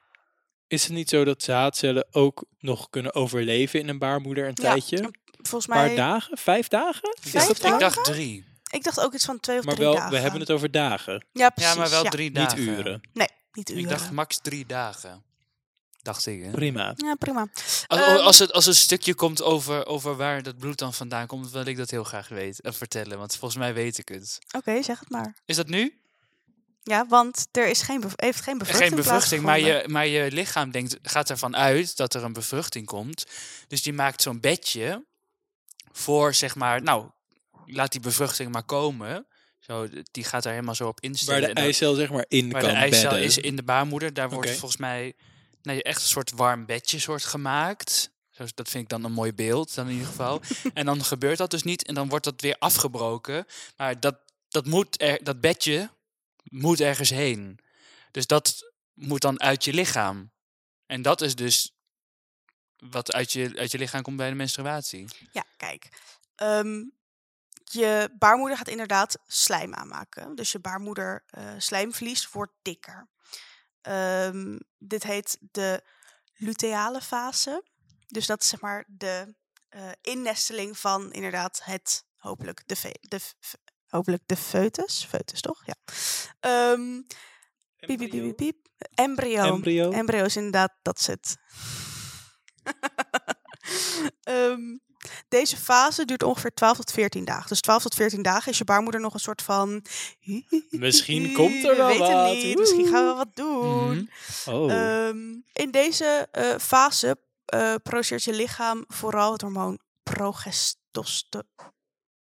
is het niet zo dat zaadcellen ook nog kunnen overleven in een baarmoeder een
Ja,
tijdje?
een
Een
Volgens
paar
mij.
dagen? Vijf dagen?
Ik
Vijf
dacht-
dagen?
ik dacht drie.
Ik dacht ook iets van twee of
Maar
drie
wel,
dagen.
we hebben het over dagen,
Ja, precies.
Ja, maar wel
ja.
drie dagen.
niet uren.
Nee, niet uren.
Ik dacht max drie dagen. Dacht ik, hè?
Prima.
Ja, prima.
Als,
Ehm,
Oh, als, het, als het stukje komt over, over waar dat bloed dan vandaan komt, wil ik dat heel graag weten, eh, vertellen. Want volgens mij weet ik het.
Oké, zeg het maar.
Is dat nu?
Ja, want er is geen bev- heeft geen bevruchting.
Geen bevruchting, maar je,
plaatsgevonden.
maar je lichaam denkt, gaat ervan uit dat er een bevruchting komt. Dus die maakt zo'n bedje voor zeg maar, nou, laat die bevruchting maar komen. Zo, d- die gaat daar helemaal zo op
Waar
instellen.
de
En dan-
eicel zeg maar in
waar de
kan
eicel
bedden.
is in de baarmoeder. Daar wordt
Oké.
volgens mij nee, echt een soort warm bedje soort gemaakt. Zo, dat vind ik dan een mooi beeld, dan in ieder geval. en dan gebeurt dat dus niet en dan wordt dat weer afgebroken. Maar dat, dat, moet er, dat bedje moet ergens heen. Dus dat moet dan uit je lichaam. En dat is dus wat uit je, uit je lichaam komt bij de menstruatie.
Ja, kijk. Ehm, je baarmoeder gaat inderdaad slijm aanmaken. Dus je baarmoeder eh, slijmvlies wordt dikker. Ehm, dit heet de luteale fase. Dus dat is zeg maar de eh, innesteling van inderdaad het, hopelijk de, fe- de f- hopelijk de foetus. Foetus, toch? Ja. Ehm, piep, piep, piep, piep, piep. Embryo.
Embryo.
Embryo is inderdaad, dat is het. Ehm, deze fase duurt ongeveer 12 tot 14 dagen. Dus 12 tot 14 dagen is je baarmoeder nog een soort van...
Misschien komt er wel
We weten
wat.
niet, misschien gaan we wat doen.
Mhm.
Oh.
Ehm, in deze eh, fase eh produceert je lichaam vooral het hormoon progesteste-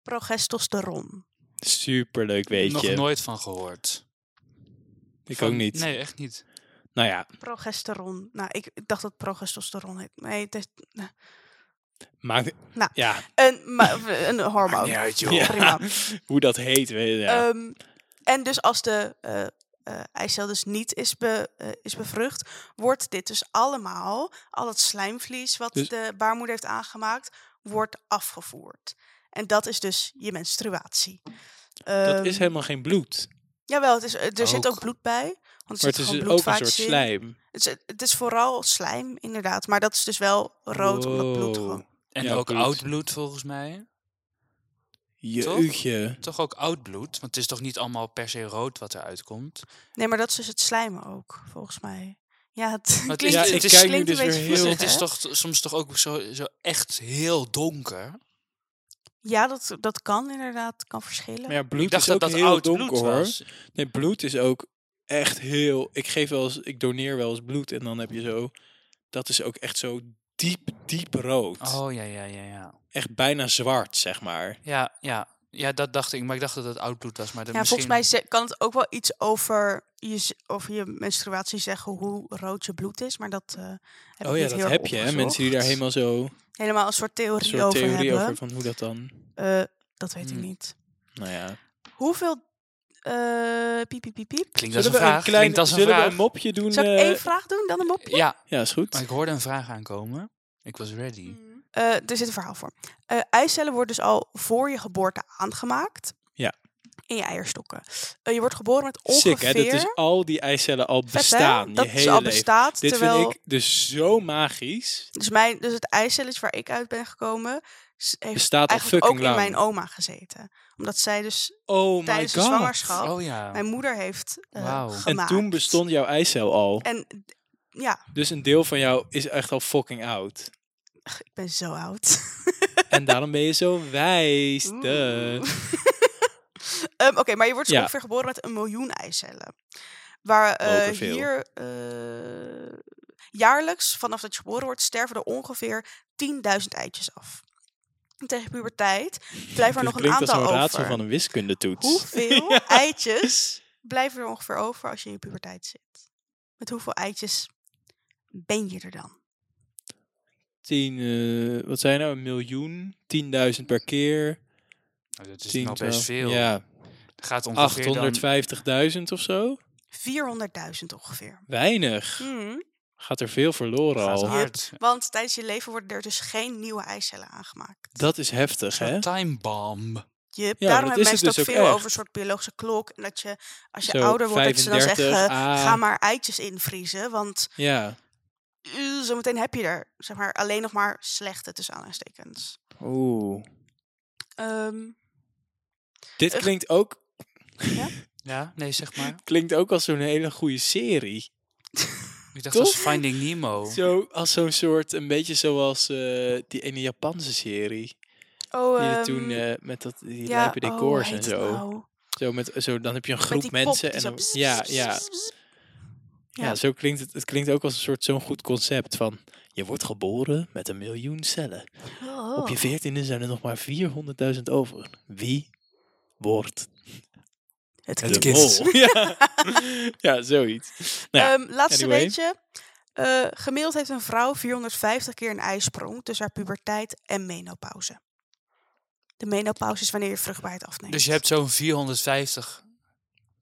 progesteron.
Superleuk
Nog
weetje.
nooit van gehoord.
Ik
Van-
ook niet.
Nee, echt niet.
Nou ja,
Progesteron. Nou, ik dacht dat het progestosteron heet. Nee, het is...
maakt...
Nou.
Ja,
Een, maar- een hormoon.
niet uit, joh.
Ja.
Prima.
hoe dat heet. Weet, ja.
Ehm, en dus als de eh eh, eicel dus niet is, be, eh, is bevrucht, wordt dit dus allemaal, al het slijmvlies wat
Dus-
de baarmoeder heeft aangemaakt, wordt afgevoerd. En dat is dus je menstruatie.
dat
Ehm,
is helemaal geen bloed.
Jawel, het is, eh, er zit
Ook.
ook bloed bij. Want er
Maar
zit
het is
gewoon
ook een soort
bloedvaatjes in.
slijm.
Het is, het is vooral slijm, inderdaad. Maar dat is dus wel rood, omdat bloed
Wow.
gewoon...
En
Ja,
ook
bloed.
oud bloed volgens mij.
Jeugdje.
Toch ook oud bloed? Want het is toch niet allemaal per se rood wat eruit komt?
Nee, maar dat is dus het slijmen ook, volgens mij. Ja, het
is-
klinkt,
ja,
het
ik
is-
kijk
nu
klinkt
dus
een
weer
beetje
heel-
Dus
viezig,
het is
hè?
toch t- soms toch ook zo, zo echt heel donker?
Ja, dat, dat kan inderdaad. kan verschillen.
Maar ja, bloed
ik dacht
is ook
dat dat
heel
oud
donker
bloed
hoor.
was.
Nee, bloed is ook echt heel. Ik geef wel eens, ik doneer wel eens bloed en dan heb je zo. Dat is ook echt zo diep, diep rood.
Oh ja, ja, ja, ja.
Echt bijna zwart, zeg maar.
Ja, ja. Ja, dat dacht ik. Maar ik dacht dat het oud bloed was. Maar dat
ja,
misschien...
volgens mij ze- kan het ook wel iets over je, z- over je menstruatie zeggen hoe rood je bloed is. Maar dat eh, heb
oh
ik
ja,
niet
dat
heel erg
heb je, hè? Mensen die daar
opgezocht.
helemaal zo. Een
helemaal een soort theorie
soort
over
theorie
hebben.
over van hoe dat dan.
Eh, dat weet
Hmm.
ik niet.
Nou ja.
Hoeveel... eh piep, piep, piep, piep.
Klinkt als
Zullen
een
we
vraag.
een klein
Klinkt als een
zullen we
vraag.
een mopje doen?
Zal ik één
eh,
vraag doen, dan een mop?
Ja,
ja, is
maar
goed.
ik hoorde een vraag aankomen. Ik was ready.
Eh, er zit een verhaal voor. Eh, eicellen worden dus al voor je geboorte aangemaakt.
Ja.
In je eierstokken. Eh, je wordt geboren met ongeveer...
Sick, hè? Dat is al die eicellen al
Vet, hè?
bestaan. je
Dat
hele
is al
leven.
bestaat.
Dit
terwijl...
vind ik dus zo magisch.
Dus, mijn, dus het eicelletje waar ik uit ben gekomen, s- heeft
Bestaat al
eigenlijk ook
fucking
in
lang.
mijn oma gezeten. Omdat zij dus
oh my
tijdens de
god.
zwangerschap
Oh ja.
mijn moeder heeft eh,
Wauw. En
En
gemaakt.
toen bestond jouw eicel al.
En d- ja,
Dus een deel van jou is echt al fucking oud.
ik ben zo oud.
En daarom ben je zo wijs.
Oeh.
duh.
Ehm, Oké, maar je wordt zo
Ja.
ongeveer geboren met een miljoen eicellen. Waar eh,
Mogen veel.
hier eh, jaarlijks, vanaf dat je geboren wordt, sterven er ongeveer 10.000 eitjes af. En Tegen puberteit blijven er
Dit
nog een
klinkt als
aantal
een raadsel
over.
van een wiskundetoets.
Hoeveel eitjes blijven er ongeveer over als je in je puberteit zit? Met hoeveel eitjes ben je er dan?
Tien, eh, wat zijn nou? Een miljoen? 10.000 per keer?
Nou, Dat is
10,
nou best
12.
veel.
Ja,
Het Gaat ongeveer dan-
850.000 of zo?
400.000 ongeveer.
Weinig.
Hmm,
Gaat er veel verloren
Gaat
al.
hard.
Want tijdens je leven worden er dus geen nieuwe eicellen aangemaakt.
Dat is heftig, hè?
Zo'n time bomb.
Yep,
Ja,
daarom
dat
hebben
is
mensen
het
het ook
dus
veel
ook
over
echt.
een soort biologische klok. En dat je, als je
Zo,
ouder wordt, dat ze dan
35,
zeggen,
ah.
ga maar eitjes invriezen. Want
Ja.
eh, zometeen heb je er zeg maar, alleen nog maar slechte tussen aanhalingstekens.
Oeh.
Ehm,
Dit
Echt?
klinkt ook,
Ja, nee, zeg maar.
klinkt ook als zo'n hele goede serie.
Ik dacht
Toch?
als Finding Nemo.
Zo, als zo'n soort, een beetje zoals eh, die ene Japanse serie.
oh,
Die er
ehm,
toen eh, met dat, die
ja,
lijpe
oh, hoe
decors en
heet het
zo.
nou?
Zo, met, eh, zo. Dan heb je een
Met
groep
die pop
mensen.
die
en
zo
dan,
bzz,
ja,
bzz,
ja,
bzz, bzz.
ja.
Ja.
zo klinkt het. Het klinkt ook als een soort zo'n goed concept van... Je wordt geboren met een miljoen cellen.
Oh, Oh.
Op je veertiende zijn er nog maar 400.000 over. Wie wordt
Het
Het
de
kind.
mol? ja. ja, zoiets. Nou ja,
Ehm, laatste
anyway.
weetje. Eh, gemiddeld heeft een vrouw 450 keer een ijsprong tussen haar puberteit en menopauze. De menopauze is wanneer je vruchtbaarheid afneemt.
Dus je hebt zo'n 450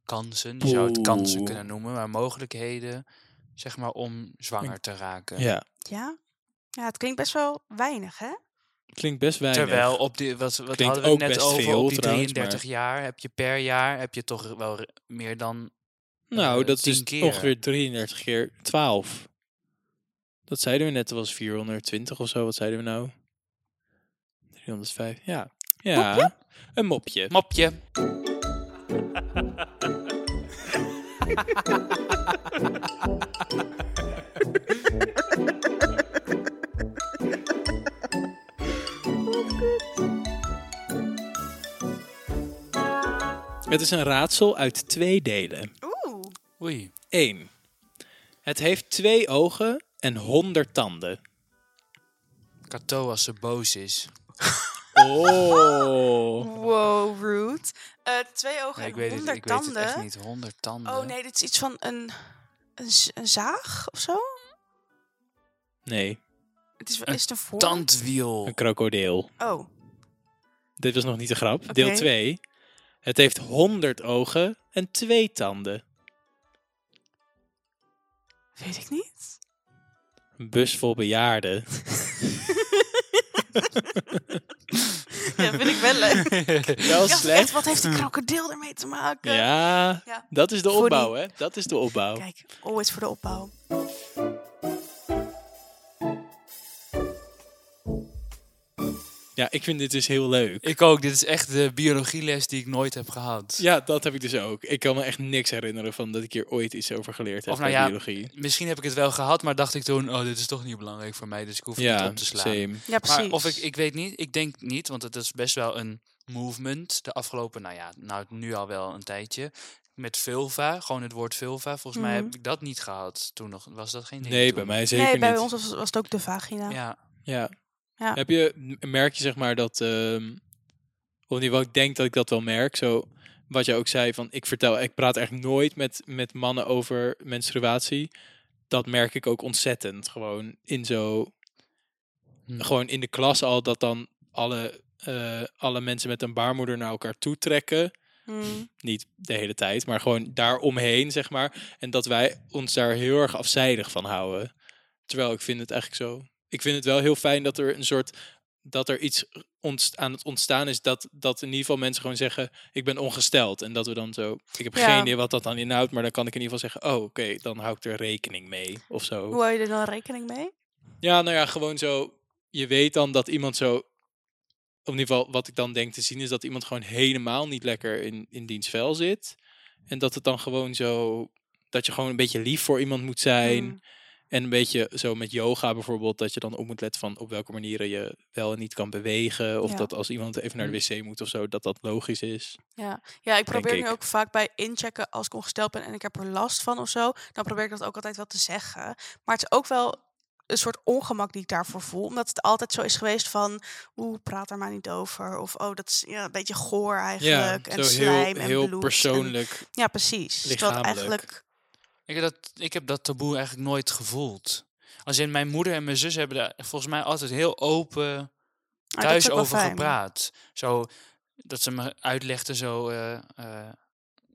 kansen. Je zou het
Poeh.
kansen kunnen noemen, maar mogelijkheden zeg maar om zwanger te raken.
ja,
Ja? ja, het klinkt best wel weinig, hè?
klinkt best weinig.
Terwijl op die, wat, wat
Klinkt
hadden we
ook
het net
best
over,
veel
op die
trouwens,
33 jaar heb je per jaar heb je toch wel re- meer dan
nou,
eh,
dat is
10 keer.
ongeveer 33 keer 12. Dat zeiden we net, dat was 420 of zo. Wat zeiden we nou? 305, ja. Ja, een mopje.
mopje.
Het is een raadsel uit twee delen.
Oeh.
Oei.
1. Het heeft twee ogen en 100 tanden.
Cato als ze boos is.
Oh.
Wow, rude. Eh, twee ogen
Nee, ik
en
weet het,
honderd
ik weet
tanden.
het echt niet. eh. 100 tanden.
Oh nee, dit is iets van een, een, z- een zaag of zo?
Nee,
Het is,
Een
is het een vorm?
Tandwiel.
een krokodil.
Oh,
Dit was nog niet de grap. Deel 2. Het heeft 100 ogen en twee tanden.
weet ik niet.
Een bus vol bejaarden.
Ja, vind ik wel leuk.
Wel
Ik dacht echt,
slecht.
wat heeft een
Hmm.
krokodil ermee te maken?
Ja,
Ja.
dat is de
Voor
opbouw, hè? Dat is de opbouw.
Kijk, always voor de opbouw.
Ja, ik vind dit dus heel leuk.
Ik ook. Dit is echt de biologieles die ik nooit heb gehad.
Ja, dat heb ik dus ook. Ik kan me echt niks herinneren van dat ik hier ooit iets over geleerd heb
Of nou
bij
ja,
biologie.
Misschien heb ik het wel gehad, maar dacht ik toen... Oh, dit is toch niet belangrijk voor mij, dus ik hoef het niet
Ja,
op te slaan.
same.
Ja, precies.
Maar of ik, ik weet niet, ik denk niet, want het is best wel een movement de afgelopen, nou ja, nou nu al wel een tijdje. Met vulva, gewoon het woord vulva, volgens mij
Mhm.
heb ik dat niet gehad toen nog. Was dat geen ding?
Nee,
toen?
bij mij zeker
nee, bij
niet.
ons was, was het ook de vagina.
Ja,
Ja.
Ja.
Heb je, m- merk je zeg maar dat, ehm op niveau, ik denk dat ik dat wel merk, zo wat je ook zei van ik vertel, ik praat echt nooit met, met mannen over menstruatie. Dat merk ik ook ontzettend gewoon in zo,
Hm.
gewoon in de klas al dat dan alle, eh, alle mensen met een baarmoeder naar elkaar toe trekken.
Hmm.
Niet de hele tijd, maar gewoon daaromheen, zeg maar. En dat wij ons daar heel erg afzijdig van houden. Terwijl ik vind het eigenlijk zo. Ik vind het wel heel fijn dat er een soort. dat er iets ontst- aan het ontstaan is. Dat, dat in ieder geval mensen gewoon zeggen: Ik ben ongesteld. En dat we dan zo. Ik heb
Ja.
geen idee wat dat dan inhoudt, maar dan kan ik in ieder geval zeggen: Oh, oké, dan hou ik er rekening mee. Of zo.
Hoe hou je er dan rekening mee?
Ja, nou ja, gewoon zo. Je weet dan dat iemand zo. Op ieder geval, wat ik dan denk te zien is dat iemand gewoon helemaal niet lekker in, in diens vel zit. En dat het dan gewoon zo. Dat je gewoon een beetje lief voor iemand moet zijn.
Hmm.
En een beetje zo met yoga bijvoorbeeld. Dat je dan op moet letten van op welke manieren je wel en niet kan bewegen. Of
Ja. Mm.
dat als iemand even naar de wc moet of zo, dat dat logisch is.
Ja, ik
Denk
probeer nu
ik.
ook vaak bij inchecken als ik ongesteld ben en ik heb er last van of zo. Dan probeer ik dat ook altijd wel te zeggen. Maar het is ook wel een soort ongemak die ik daarvoor voel. Omdat het altijd zo is geweest van, oeh, praat er maar niet over. Of, oh, dat is ja, een beetje goor eigenlijk. en
zo
slijm
heel,
en bloed
heel
en-
persoonlijk.
ja, precies. Terwijl het
lichamelijk.
eigenlijk...
Ik heb, dat, ik heb dat taboe eigenlijk nooit gevoeld. Als in mijn moeder en mijn zus hebben daar volgens mij altijd heel open
Ah, dat is
thuis
ook wel
over
fijn.
gepraat. Zo, dat ze me uitlegden zo, eh, eh,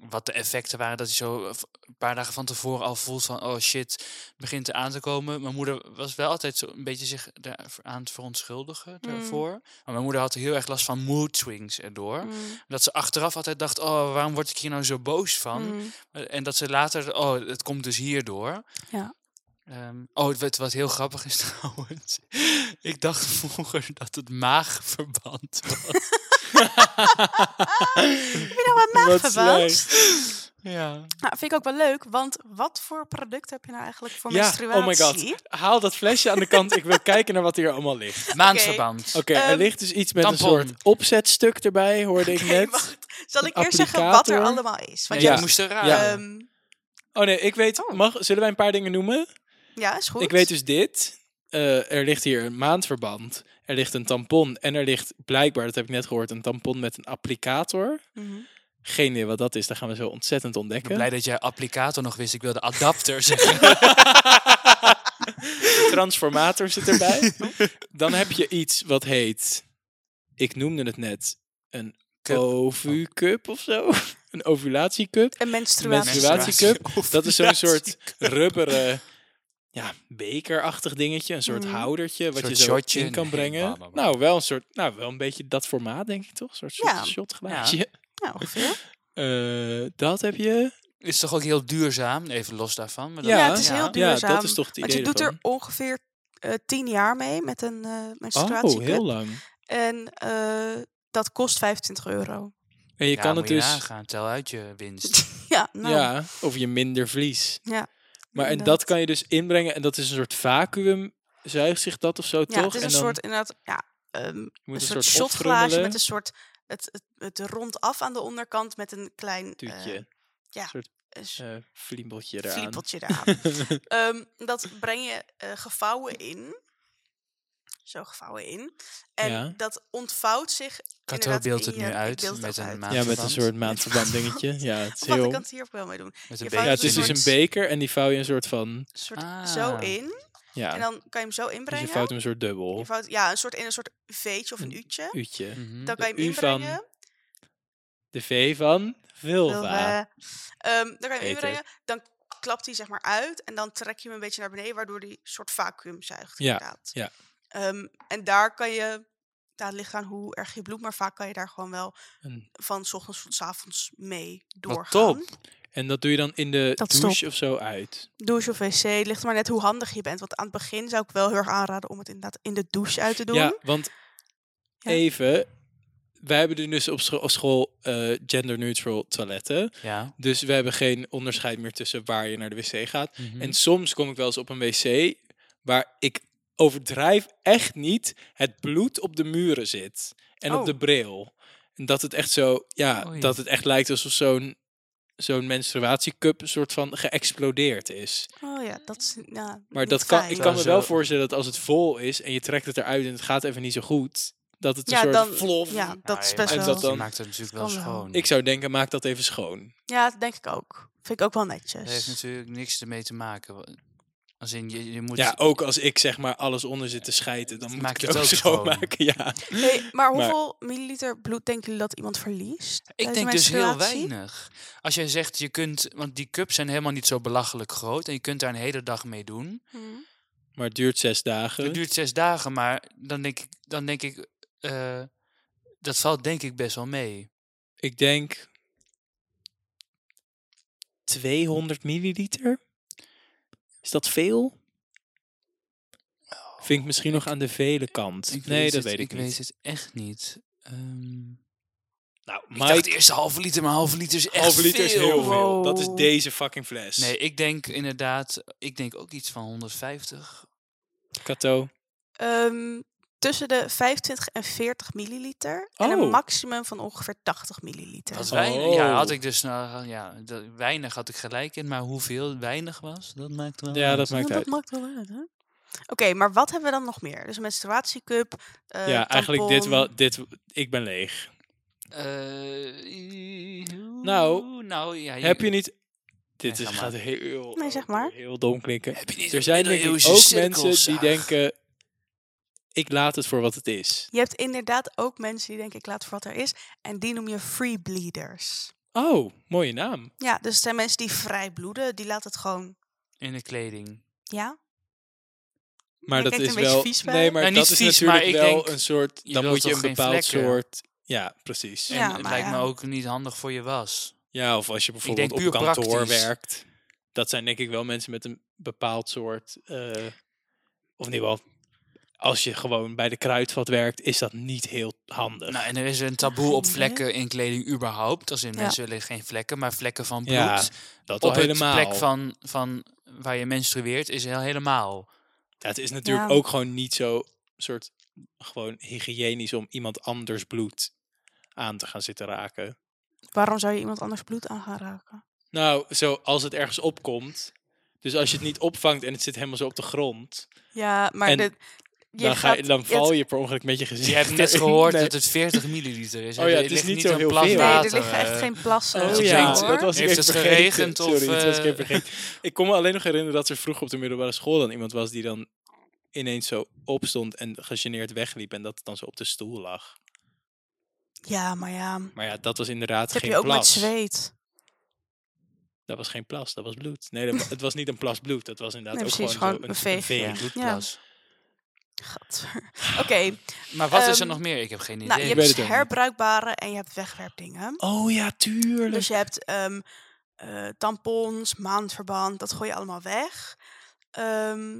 wat de effecten waren. Dat je zo eh, v- een paar dagen van tevoren al voelt van... oh shit, begint er aan te komen. Mijn moeder was wel altijd zo een beetje zich daar aan het verontschuldigen
Mm.
daarvoor. Maar mijn moeder had heel erg last van mood swings erdoor.
Mm,
Dat ze achteraf altijd dacht... oh, waarom word ik hier nou zo boos van?
mm.
Eh, En dat ze later, oh, het komt dus hierdoor.
Ja.
Ehm, oh, het- wat, wat heel grappig is trouwens. Ik dacht vroeger dat het maagverband was.
Heb je nou wat nagebaast?
ja.
Nou, vind ik ook wel leuk, want wat voor product heb je nou eigenlijk voor
Ja,
menstruatie?
oh my god. Haal dat flesje aan de kant. Ik wil kijken naar wat hier allemaal ligt.
Maandverband.
Oké, er
Ehm,
ligt dus iets met
tampon.
een soort opzetstuk erbij, hoorde ik
Oké,
net.
wacht. Zal ik
Een
eerst zeggen wat er
applicator?
allemaal is? Want
Nee,
ja.
je moest er
Ja.
raden.
Ehm,
Oh.
Oh nee, ik weet. Mag, zullen wij een paar dingen noemen?
ja, is goed.
Ik weet dus dit. Eh, eh, er ligt hier een maandverband, er ligt een tampon en er ligt blijkbaar, dat heb ik net gehoord, een tampon met een applicator.
Mhm.
Geen idee wat dat is, daar gaan we zo ontzettend
Ik ben
ontdekken.
blij dat jij applicator nog wist. Ik wilde adapter zeggen.
Transformator zit erbij. Dan heb je iets wat heet, ik noemde het net, een
Cup.
ovu-cup of zo. Een ovulatiecup.
Een menstruatie.
Menstruatiecup, dat is zo'n soort
Menstruatiecup.
rubberen eh, ja, bekerachtig dingetje. Een
Mm.
soort houdertje wat
Soort
je zo
shotje.
in kan
Nee,
brengen.
bla, bla, bla.
Nou, wel een soort, nou, wel een beetje dat formaat, denk ik toch? Een soort
Ja.
shot, shotglaasje.
Nou, ongeveer.
Eh, dat heb je.
Is toch ook heel duurzaam? Even los daarvan. Maar
Ja,
Ja, het is heel duurzaam.
Ja, dat is toch het idee
Want je doet er
ervan.
ongeveer eh, tien jaar mee met een eh menstruatiecup.
Oh, heel lang.
En eh, dat kost 25 euro.
En je kan het dus...
gaan. Tel uit je winst.
Ja, nou. eh,
Ja, of je minder vlies.
Ja,
Maar en dat
inderdaad.
kan je dus inbrengen en dat is een soort vacuüm, zuigt zich dat of zo,
Ja,
toch?
het is
en
een
dan
soort, inderdaad, ja, ehm,
je moet
een
een
soort
soort
shotglaasje
opfrummelen.
met een soort, het, het, het rondaf aan de onderkant met een klein eh,
tuutje,
een s-
eh, vliembeltje eraan.
fliepeltje eraan. Ehm, dat breng je eh, gevouwen in. Zo gevouwen in. En
Ja.
dat ontvouwt zich
Kato
Inderdaad,
beeldt
in
het
je-
nu
ik
uit.
beeld het
Met
ook
een
uit.
maand.
ja, met een soort maandverband dingetje. Ja, het is
Wat ik
heel...
kan het hier ook wel mee doen.
Met een
je
beetje.
vouwt
Ja, het is dus
soort-
een beker en die vouw je een soort van...
Een soort
Ah.
zo in.
Ja,
En dan kan je hem zo
dus je
inbrengen.
vouwt hem een soort
Je
dubbel.
vouwt- ja, een soort in een soort V'tje of een
Een
U'tje.
Uutje.
Mhm.
Dan kan je
de
hem
U van
inbrengen.
De V van vulva.
Vulva. Ehm, dan kan je hem
Heet
inbrengen. Dan klapt hij zeg maar uit. En dan trek je hem een beetje naar beneden. Waardoor die soort vacuüm zuigt.
Ja,
inderdaad.
ja.
Ehm, en daar kan je... Daar ligt aan hoe erg je bloed. Maar vaak kan je daar gewoon wel
Een-
van 's ochtends tot 's avonds mee
Wat
doorgaan.
top.
En dat doe je dan in de
Dat
douche
stop.
of zo uit.
Douche of wc. Het ligt er maar net hoe handig je bent. Want aan het begin zou ik wel heel erg aanraden om het inderdaad in de douche uit te doen.
Ja, want
Ja.
even... Wij hebben er dus op scho- op school eh, gender-neutral toiletten.
Ja.
Dus we hebben geen onderscheid meer tussen waar je naar de wc gaat.
Mhm.
En soms kom ik wel eens op een wc waar ik overdrijf echt niet het bloed op de muren zit en
Oh.
op de bril. En dat het echt zo, ja,
Oei.
dat het echt lijkt alsof zo'n zo'n menstruatiecup een soort van geëxplodeerd is.
Oh ja, dat is ja,
Maar
niet
dat kan,
fijn.
ik kan me
Zo-
wel
zo-
voorstellen dat als het vol is en je trekt het eruit en het gaat even niet zo goed, dat het een
Ja,
soort
dan-
flof.
Ja, dat is
Ah,
best
maar
en
wel...
dat dan-
Je maakt het natuurlijk wel
kan wel.
schoon.
Ik zou denken, maak dat even schoon.
Ja, dat denk ik ook. Vind ik ook wel
Dat heeft
netjes.
natuurlijk niks ermee te maken. Als in, je, je moet...
Ja, ook als ik zeg maar alles onder zit te schijten, dan moet
Maak
ik
je
het
het
ook
ook schoon.
schoonmaken. Ja.
Hey, maar hoeveel milliliter bloed denken jullie dat iemand verliest?
Ik
tijdens
denk dus heel
menstruatie?
weinig. Als jij zegt, je kunt... Want die cups zijn helemaal niet zo belachelijk groot. En je kunt daar een hele dag mee doen.
Mhm.
Maar het duurt zes dagen.
Het duurt zes dagen, maar dan denk ik... Dan denk ik eh, dat valt denk ik best wel mee.
Ik denk 200 milliliter. Is dat veel? Vind ik misschien nog aan de vele kant.
Nou, Ik
nee, dat
het-
weet ik, niet.
weet het echt niet. Ehm
Nou,
ik dacht
Mike,
eerst een halve liter, maar een halve liter is echt
halve liter is
veel.
heel veel. Dat is
Wow.
deze fucking fles.
Nee, ik denk inderdaad... Ik denk ook iets van 150.
Kato.
Ehm, tussen de 25 en 40 milliliter. En
Oh.
een maximum van ongeveer 80 milliliter.
Wat weinig. Ja,
Oh.
had ik dus nou, ja, dat- weinig had ik gelijk in, maar hoeveel weinig was, dat maakt wel.
Ja,
uit.
dat maakt
Ja,
uit.
dat maakt wel uit, hè? Oké, maar wat hebben we dan nog meer? Dus een menstruatiecup. eh,
ja, eigenlijk dit
tampon.
wel. Dit, ik ben leeg.
Eh, i-
Nou,
nou ja,
Heb je niet. Dit
Nee,
is,
ga maar.
gaat heel,
Nee, zeg maar.
heel dom klinken.
heb je niet
Er
een
zijn denk ik
middeleeuwse
ook mensen die
cirkelzaag?
denken: ik laat het voor wat het is.
Je hebt inderdaad ook mensen die denken, ik laat voor wat er is. En die noem je free bleeders.
Oh, mooie naam.
Ja, dus het zijn mensen die vrij bloeden. Die laten het gewoon,
in de kleding.
ja.
Maar
Jij
dat
kijkt
is
een beetje
wel.
vies bij.
nee, maar
Nou, niet
dat is
vies, maar
natuurlijk
ik
wel
denk,
een soort.
je
Dan
wilt
moet je
toch
een
geen
bepaald
vlekken?
soort. Ja, precies.
Ja.
Ja,
en het
maar
lijkt me
ja.
ook niet handig voor je was.
of als
denk
je bijvoorbeeld op
puur
kantoor
praktisch.
werkt. Dat zijn denk ik wel mensen met een bepaald soort. eh, of in ieder geval. Als je gewoon bij de kruidvat werkt, is dat niet heel handig.
Nou, en er is een taboe op vlekken in kleding überhaupt. Als in
Ja.
mensen willen geen vlekken, maar vlekken van bloed.
Ja, dat al
op de
helemaal.
plek van, van waar je menstrueert is heel helemaal.
Ja, het is natuurlijk
Ja.
ook gewoon niet zo soort gewoon hygiënisch om iemand anders bloed aan te gaan zitten raken.
Waarom zou je iemand anders bloed aan gaan raken?
Nou, zo als het ergens opkomt, Dus als je het niet opvangt en het zit helemaal zo op de grond,
Ja, maar
En
de, je
dan, ga, je-
gaat-
dan
het-
val je per ongeluk met je gezicht.
Je hebt net
erin.
gehoord
Nee.
dat het 40 milliliter is.
Oh ja,
Er
het is
ligt
niet zo
een
heel
plas
veel.
Nee, er
water,
liggen echt
eh.
geen plassen.
Oh
of
ja,
zo,
dat
hoor.
was ik
Heeft
even
het
vergeten.
geregend of,
Sorry, dat was ik
eh,
even vergeten. Ik kon me alleen nog herinneren dat er vroeger op de middelbare school dan iemand was die dan ineens zo opstond en gegeneerd wegliep en dat het dan zo op de stoel lag.
Ja, maar ja.
Maar ja, dat was inderdaad
Dat heb
geen
je ook met
plas.
zweet.
dat was geen plas, dat was bloed. Nee, dat- het was niet een plas bloed, dat was inderdaad
Nee,
ook gewoon,
precies,
zo
gewoon
een,
een veeg.
veeg.
Ja, bloedplas.
Gadver. Oké,
Maar wat is er
Ehm,
nog meer? Ik heb geen idee.
nou, je
weet
hebt
het
dus
ook niet.
herbruikbare en je hebt wegwerpdingen.
Oh ja, tuurlijk.
Dus je hebt ehm, eh, tampons, maandverband, dat gooi je allemaal weg. Ehm,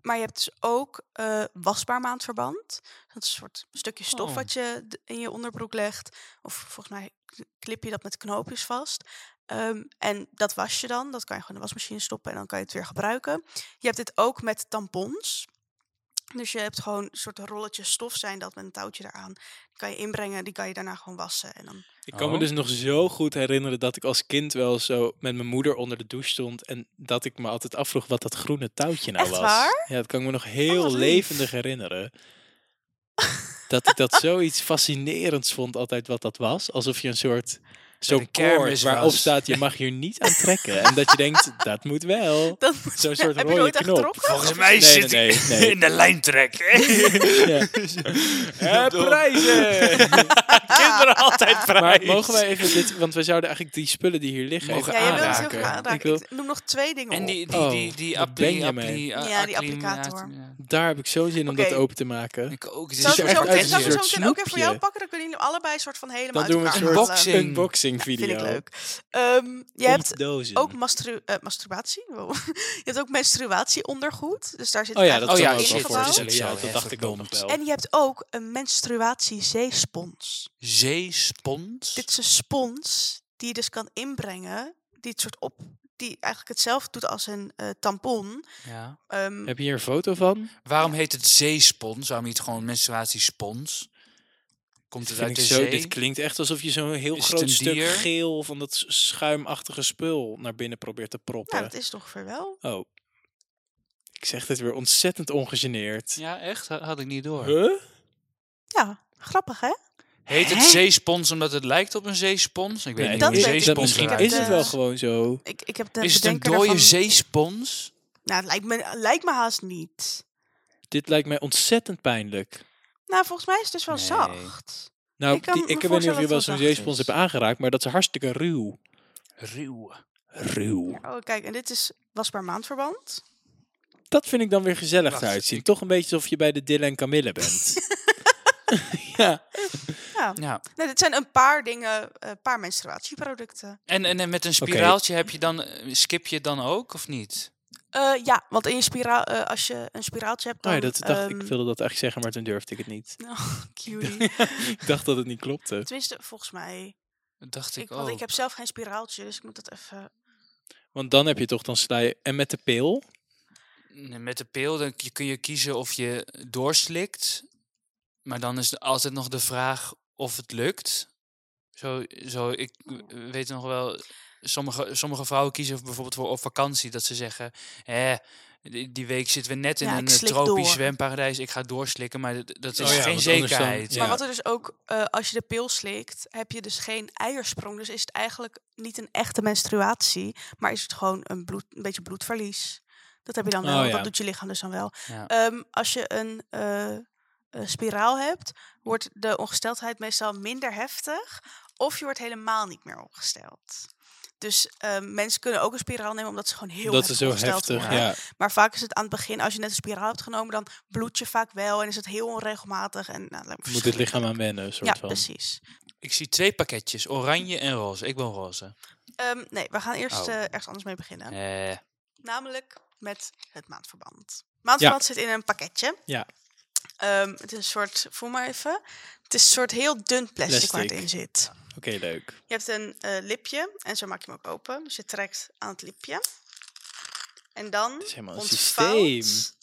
maar je hebt dus ook eh, wasbaar maandverband. Dat is een soort stukje stof
Oh.
wat je d- in je onderbroek legt. Of volgens mij k- klip je dat met knoopjes vast. Ehm, en dat was je dan. Dat kan je gewoon in de wasmachine stoppen en dan kan je het weer gebruiken. Je hebt dit ook met tampons. Dus je hebt gewoon een soort rolletjes stof zijn dat met een touwtje eraan. Die kan je inbrengen, die kan je daarna gewoon wassen. En dan
Ik kan me
Oh.
dus nog zo goed herinneren dat ik als kind wel zo met mijn moeder onder de douche stond en dat ik me altijd afvroeg wat dat groene touwtje nou
Echt
was.
waar?
Ja, dat kan ik me nog
Oh,
heel
wat lief.
levendig herinneren. dat ik dat zoiets fascinerends vond altijd wat dat was, alsof je een soort zo'n koord
kermis
waarop
was.
staat je mag hier niet aan trekken en dat je denkt dat moet wel.
Dat moet
Zo'n
je-
soort
heb je
rode
nooit
knop.
achterop gehad?
Volgens mij
Nee,
zit
nee,
ik
nee, nee.
in de lijntrek.
Ja.
Eh,
prijzen!
Kinderen altijd
Maar
prijs.
mogen wij even dit, want we zouden eigenlijk die spullen die hier liggen
Mogen
Ja, je wil het heel
aanraken.
graag aanraken.
Ik wil-
Ik noem nog twee dingen
En
op.
die, die,
Oh,
die, die
wat ben
appli,
je
appli,
mee?
eh,
Ja, die
acclim-
applicator.
ja.
Daar heb ik zo zin om
Oké.
dat open te maken.
Ik ook. Het
Zal
is
ik
een
Zou-
hem
soort
zo
zou-
meteen,
advertentie.
zal ik hem
advertentie.
zo meteen ook even voor jou
snoepje.
pakken? Dan kunnen jullie hem allebei soort van helemaal
Dan
uit
doen we een
elkaar
soort
halen.
Unboxing.
unboxing video.
Vind ik leuk. Ehm, je hebt
Ontdozen.
ook mastru- eh, masturbatie. Wow. je hebt ook menstruatieondergoed. Dus daar zit
Oh
het
ja, dat
Oh
eigenlijk
ja,
kan ook
in
shit, dat is
wel
gebouwd.
het.
voorstellen. Ja,
zo,
dat
hè,
dacht ik ook nog wel.
En je hebt ook een menstruatie zeespons.
Zeespons.
Dit is een spons die je dus kan inbrengen. Die het soort op... Die eigenlijk hetzelfde doet als een eh, tampon.
Ja.
Ehm,
Heb je hier een foto van?
Waarom heet het zeespons? Waarom niet gewoon menstruatiespons? Komt het
Vind
uit
ik
de
zo,
zee?
dit klinkt echt alsof je zo'n heel
Is het
groot
een
stuk
dier?
geel van dat s- schuimachtige spul naar binnen probeert te proppen.
nou, dat is het ongeveer wel.
Oh. Ik zeg dit weer ontzettend ongegeneerd.
Ja, echt? Ha- Had ik niet door.
Huh?
Ja, grappig hè?
Heet het zeespons omdat het lijkt op een zeespons? Ik weet
Nee,
niet
dat
hoe een
weet ik
is,
niet.
zeespons
misschien
Ik
eruit
heb
is het
ziet.
de-
wel gewoon zo.
Ik, ik heb de
Is het een
bedenker
dode
ervan-
zeespons?
Nou, het lijkt me, lijkt me haast niet.
Dit lijkt mij ontzettend pijnlijk.
Nou, volgens mij is het dus wel
Nee.
zacht.
Nou,
Ik
ik,
kan me
die, ik weet niet
voorstellen
of je
dat
wel
het
zo'n
wel zacht
zeespons
is.
hebt aangeraakt, maar dat is hartstikke ruw.
Ruw.
Ruw.
Oh, kijk, en dit is wasbaar maandverband.
Dat vind ik dan weer gezellig
Wacht,
eruit zien.
ik-
Toch een beetje alsof je bij de Dylan en Camille bent. ja.
Ja.
Nou, dit zijn een paar dingen, een paar menstruatieproducten.
En, en, en met een spiraaltje heb je dan, eh, skip je het dan ook of niet?
Eh, ja, want in je spiraal, eh, als je een spiraaltje hebt, dan...
Oh, ja, dat dacht, ik
ehm,
wilde dat echt zeggen, maar toen durfde ik het niet.
cutie.
Ik dacht dat het niet klopte.
Tenminste, volgens mij.
Dat dacht ik,
Ik,
ook.
want ik heb zelf geen spiraaltje, dus ik moet dat even...
Want dan heb je toch, dan sla je... En met de pil?
Nee, Met de pil dan k- kun je kiezen of je doorslikt. Maar dan is altijd nog de vraag of het lukt. Zo, zo ik eh, weet nog wel, sommige, sommige vrouwen kiezen bijvoorbeeld voor op vakantie dat ze zeggen: hè, die, die week zitten we net in
Ja,
een
ik
eh,
slik
tropisch
door.
zwemparadijs, ik ga doorslikken. Maar d- dat is
Oh ja,
geen
want anders dan-
zekerheid.
Ja.
Maar wat er dus ook, eh, als je de pil slikt, heb je dus geen eiersprong. Dus is het eigenlijk niet een echte menstruatie, maar is het gewoon een, bloed, een beetje bloedverlies. Dat heb je dan wel,
Oh
want
ja.
dat doet je lichaam dus dan wel.
Ja.
Ehm, als je een eh, eh, spiraal hebt, wordt de ongesteldheid meestal minder heftig. Of je wordt helemaal niet meer ongesteld. Dus ehm, mensen kunnen ook een spiraal nemen omdat ze gewoon heel
dat is
heftig
zo
ongesteld
heftig,
worden.
ja.
Maar vaak is het aan het begin, als je net een spiraal hebt genomen, dan bloedt je vaak wel en is het heel onregelmatig. En, nou, lijkt me
Moet het lichaam
verschrikkelijk.
aan wennen, soort
Ja,
van.
precies.
Ik zie twee pakketjes, oranje en roze. Ik ben roze.
Ehm, nee, we gaan eerst
Oh.
eh, ergens anders mee beginnen.
Eh,
Namelijk met het maandverband. Maandverband zit in een pakketje.
Ja.
Ehm, het is een soort, voel maar even. Het is een soort heel dun plastic, waar het
Plastic.
in zit.
Oké, leuk.
Je hebt een eh, lipje en zo maak je hem ook open. Dus je trekt aan het lipje. En dan
is helemaal een
ontvouwt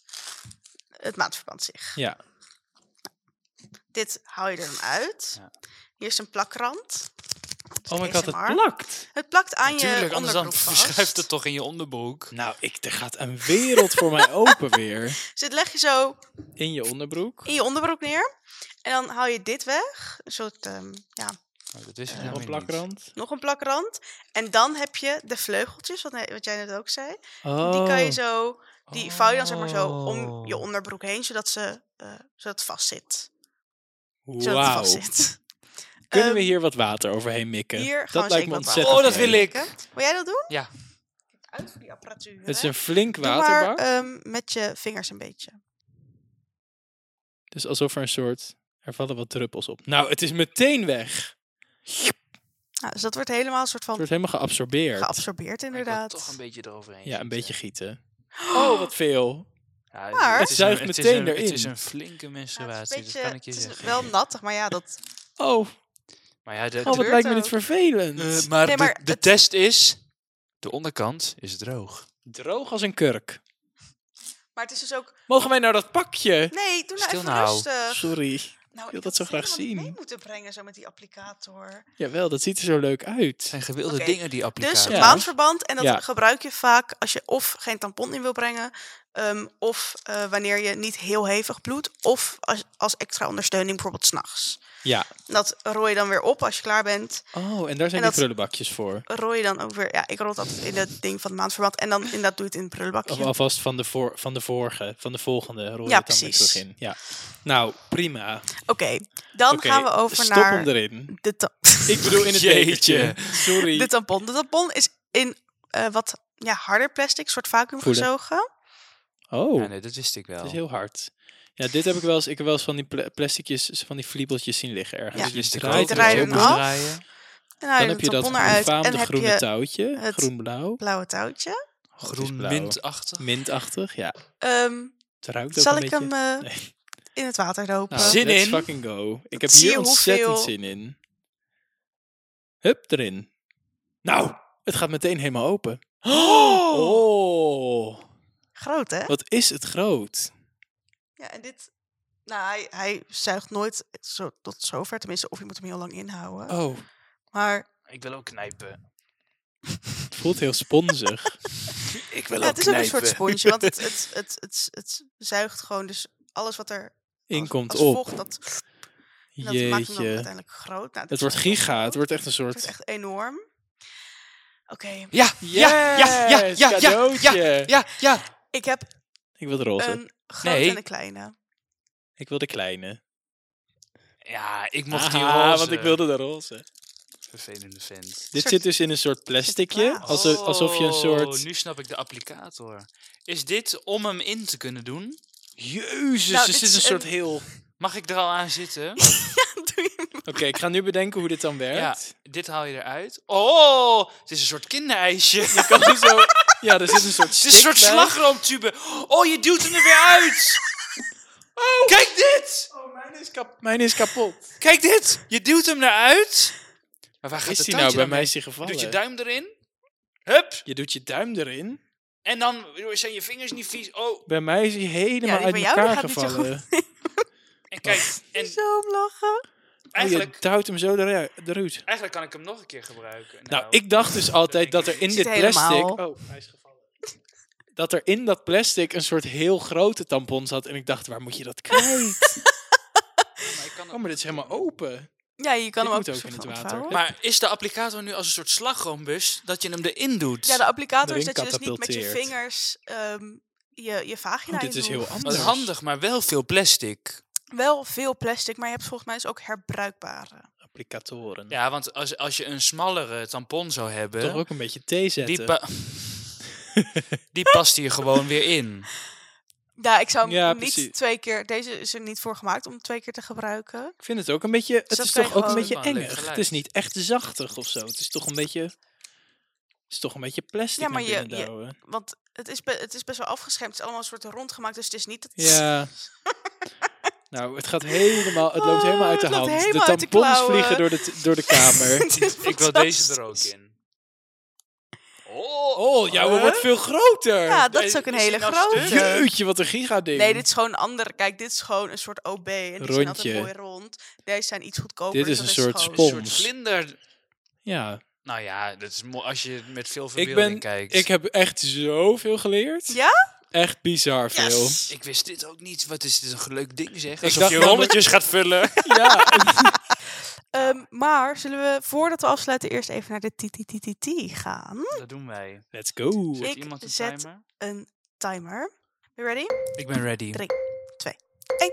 het maandverband zich.
Ja.
Dit haal je er dan uit.
Ja.
Hier is een plakrand. Dus
Oh my god, het
ASMR.
plakt.
Het plakt aan
Natuurlijk,
je
anders dan
onderbroek vast.
verschuift het toch in je onderbroek.
Nou, ik, er gaat een wereld voor mij open weer.
Dus dit leg je zo
In je onderbroek.
in je onderbroek neer. En dan haal je dit weg. Een soort, ehm, ja,
Nou, dat is
Nog
helemaal
Een plakrand.
nog een plakrand. En dan heb je de vleugeltjes, wat, wat jij net ook zei.
Oh.
Die kan je zo, die vouw je dan zeg maar zo om je onderbroek heen, zodat ze, eh, zodat het vast zit. Zodat het
Wauw.
vast zit.
Kunnen we
Ehm,
hier wat water overheen mikken?
hier gaan we
dat lijkt
zeker
me
wat
ontzettend
water
Oh, dat
leuk.
wil ik.
Wil jij dat doen?
Ja.
Kijk Uit voor die apparatuur.
Het is
hè.
een flink
Doe maar
waterbak.
ehm, met je vingers een beetje.
Dus alsof er een soort... Er vallen wat druppels op. Nou, het is meteen weg.
Nou, dus dat wordt helemaal een soort
Het
van
wordt helemaal geabsorbeerd.
geabsorbeerd
Maar ik wil
inderdaad.
toch een beetje eroverheen.
ja, een
zitten.
beetje gieten. Oh, wat veel.
Ja,
Maar-
Het zuigt
een-
meteen
een, Het is
erin.
een flinke
Ja, het is
menstruatie,
een
dat
beetje,
dus kan ik je
het is
zeggen.
wel nattig, maar ja, dat
Oh,
Maar ja, de,
oh wat
gebeurt
lijkt me
ook.
dit vervelend.
Eh, maar
Nee,
de-
maar
de,
het-
test is, de onderkant is droog.
Droog als een kurk.
Maar het is dus ook.
Mogen wij naar dat pakje?
Nee, doe nou
Stil
even
nou.
rustig.
Sorry.
Nou,
wil
ik
dat zo
had
graag
helemaal niet
zien.
mee moeten brengen zo met die applicator.
Jawel, dat ziet er zo leuk uit.
Het zijn gewilde
Oké,
dingen, die
Dus
applicatie.
Ja.
maandverband en dat
Ja.
gebruik je vaak als je of geen tampon in wil brengen, ehm, of eh, wanneer je niet heel hevig bloedt, of als, als extra ondersteuning bijvoorbeeld s'nachts.
Ja.
Dat rooi je dan weer op als je klaar bent.
Oh, en daar
En
zijn
dat-
die prullenbakjes voor.
Rooi je dan ook weer. Ja, ik rol dat in het ding van het maandverband en dan inderdaad doe je het in het
Of
prullenbakje.
alvast van de, voor, van de vorige, van de volgende
Ja,
rol je het dan weer
precies.
terug in. Ja. Nou, prima.
Oké, dan
Oké,
gaan we over
stop
naar
hem erin.
de, ta-
Ik bedoel in het
Jeetje.
bekertje. Sorry.
de tampon. De tampon is in eh, wat ja, harder plastic, soort vacuüm
Voelen.
gezogen.
Oh,
Ja, nee, dat wist ik wel.
dat is heel hard. Ja, dit heb ik wel eens, ik heb wel eens van die pla- plasticjes, van die fliebeltjes zien liggen ergens.
Ja.
Dus je
ook.
draait
Die
hem
draaien
zo.
hem af. En dan,
Dan
je
heb je
de
dat
tampon eruit en
befaamde
heb
groene
je
touwtje,
het-
groen-blauw,
blauwe touwtje.
Groen
blauw.
mintachtig.
mintachtig. Ja,
Ehm,
het ruikt ook
zal
een
ik
beetje.
hem eh,
Nee.
in het water dopen?
Nou,
Zin
let's
in.
fucking go. Ik heb
Zie je
hier ontzettend
hoeveel-
zin in. Hup, erin. Nou, het gaat meteen helemaal open. Oh,
Groot, hè?
wat is het groot.
Ja, en dit... Nou, hij, hij zuigt nooit zo, tot zover. Tenminste, of je moet hem heel lang inhouden.
Oh,
Maar
Ik wil ook knijpen.
het voelt heel sponsig.
Ik wil
ja, het is ook een soort sponsje, want het, het, het, het, het zuigt gewoon. Dus alles wat er als,
Inkomt
als
op.
vocht, dat, en dat maakt hem dan
Jeetje.
uiteindelijk groot. Nou, dit
Het
is
wordt
echt heel
giga. Het
groot.
wordt echt een
Het
soort...
wordt echt enorm. Oké,
Ja, ja, ja, ja,
Yes,
ja, ja, ja, Ehm,
cadeautje.
ja, ja.
ik heb
Ik wil de roze.
een grote
Nee.
en een kleine.
Ik wil de kleine.
Ja, ik mocht die
Aha,
roze.
want ik wilde de roze.
Vervelende vent.
Dit
Soort-
zit dus in een soort plasticje.
klaas.
Alsof, alsof je een
Oh,
soort...
nu snap ik de applicator. Is dit om hem in te kunnen doen?
Jezus,
Nou,
er
dit
zit
is
een soort
een-
heel...
Mag ik er al aan zitten?
Doe je hem?
Oké, ik ga nu bedenken hoe dit dan
Ja,
werkt.
dit haal je eruit. Oh, het is een soort kinderijsje.
Je kan er zo... Ja, er zit een soort
Het is een soort
stick bij.
slagroomtube. Oh, je duwt hem er weer uit. Kijk dit!
Oh, mijn is, kap- mijn is kapot.
Kijk dit! Je duwt hem eruit. Maar waar gaat
Is
het
die nou?
touwtje dan
Bij mij
heen?
is die gevallen.
Doet je duim erin. Hup.
Je doet je duim erin.
En dan zijn je vingers niet vies. Oh,
Bij mij is hij helemaal
die
uit
van jou,
elkaar
die gaat niet zo
gevallen.
en kijk. En
Zo om lachen.
Oh,
eigenlijk,
je duwt hem zo eruit. eruit.
eigenlijk kan ik hem nog een keer gebruiken.
Nou, ik dacht dus altijd dat er in
Zit
dit plastic...
helemaal.
Oh, hij is gevallen. Dat er in dat plastic een soort heel grote tampon zat. En ik dacht, waar moet je dat kwijt?
Maar, ik kan
Oh,
hem-
maar dit is helemaal open.
Ja, je kan
Dit
hem ook,
moet
een
ook
soort
in het
van
water.
ontvouwen.
maar is de applicator nu als een soort slagroombus dat je hem erin doet?
Ja, de applicator is
Erin
dat je dus niet met je
katapulteert.
vingers ehm, je, je vagina
Oh, dit
in
is heel
doet.
Dat
anders.
is handig, maar wel veel plastic.
Wel veel plastic, maar je hebt volgens mij dus ook herbruikbare.
Applicatoren.
Ja, want als, als je een smallere tampon zou hebben,
Toch ook een beetje thee zetten.
die, pa- die past hier gewoon weer in.
Ja, ik zou hem
Ja,
niet
precies.
twee keer... Deze is er niet voor gemaakt om twee keer te gebruiken.
Ik vind het ook een beetje... Het
dat
is
kan je
toch ook een
gewoon-
beetje
Wel een leuk
engig. Het is
geluid.
niet echt zachtig of zo. Het is toch een beetje... Het is toch een beetje plastic
Ja, maar
naar
je-
binnen
je-
douwen.
Want het is, be- het is best wel afgeschermd. Het is allemaal een soort rondgemaakt, dus het is niet... Dat
Ja. nou, het gaat helemaal... Het loopt
Oh,
helemaal uit de
het loopt
hand.
helemaal uit de
de tampons
klauwen.
vliegen door de, t- door de kamer.
Het is
Ik wil deze er ook in. Oh,
Oh, jouw wordt veel groter.
Ja, dat is ook een
Is die
hele
nou
grote.
Jeetje, wat een giga ding.
Nee, dit is gewoon een andere. Kijk, dit is gewoon een soort OB. En die zijn altijd
Rondje.
mooi rond. Deze zijn iets goedkoper.
Dit is
dus
een
dat
soort
gewoon-
Een soort
Pons.
vlinder.
Ja,
Nou ja, dat is mooi als je met veel
ik,
verbeelding
ben,
kijkt.
ik heb echt zoveel geleerd.
Ja?
Echt bizar veel.
Ik wist dit ook niet. Wat is dit een leuk ding zeg?
dacht
Alsof je
namelijk-
rolletjes gaat vullen.
Ja,
Ehm, maar zullen we, voordat we afsluiten, eerst even naar de TTTT gaan?
Dat doen wij.
let's go.
Zet
Ik
iemand een
zet-
timer?
Een timer. You ready?
Ik ben ready.
Drie, twee, één.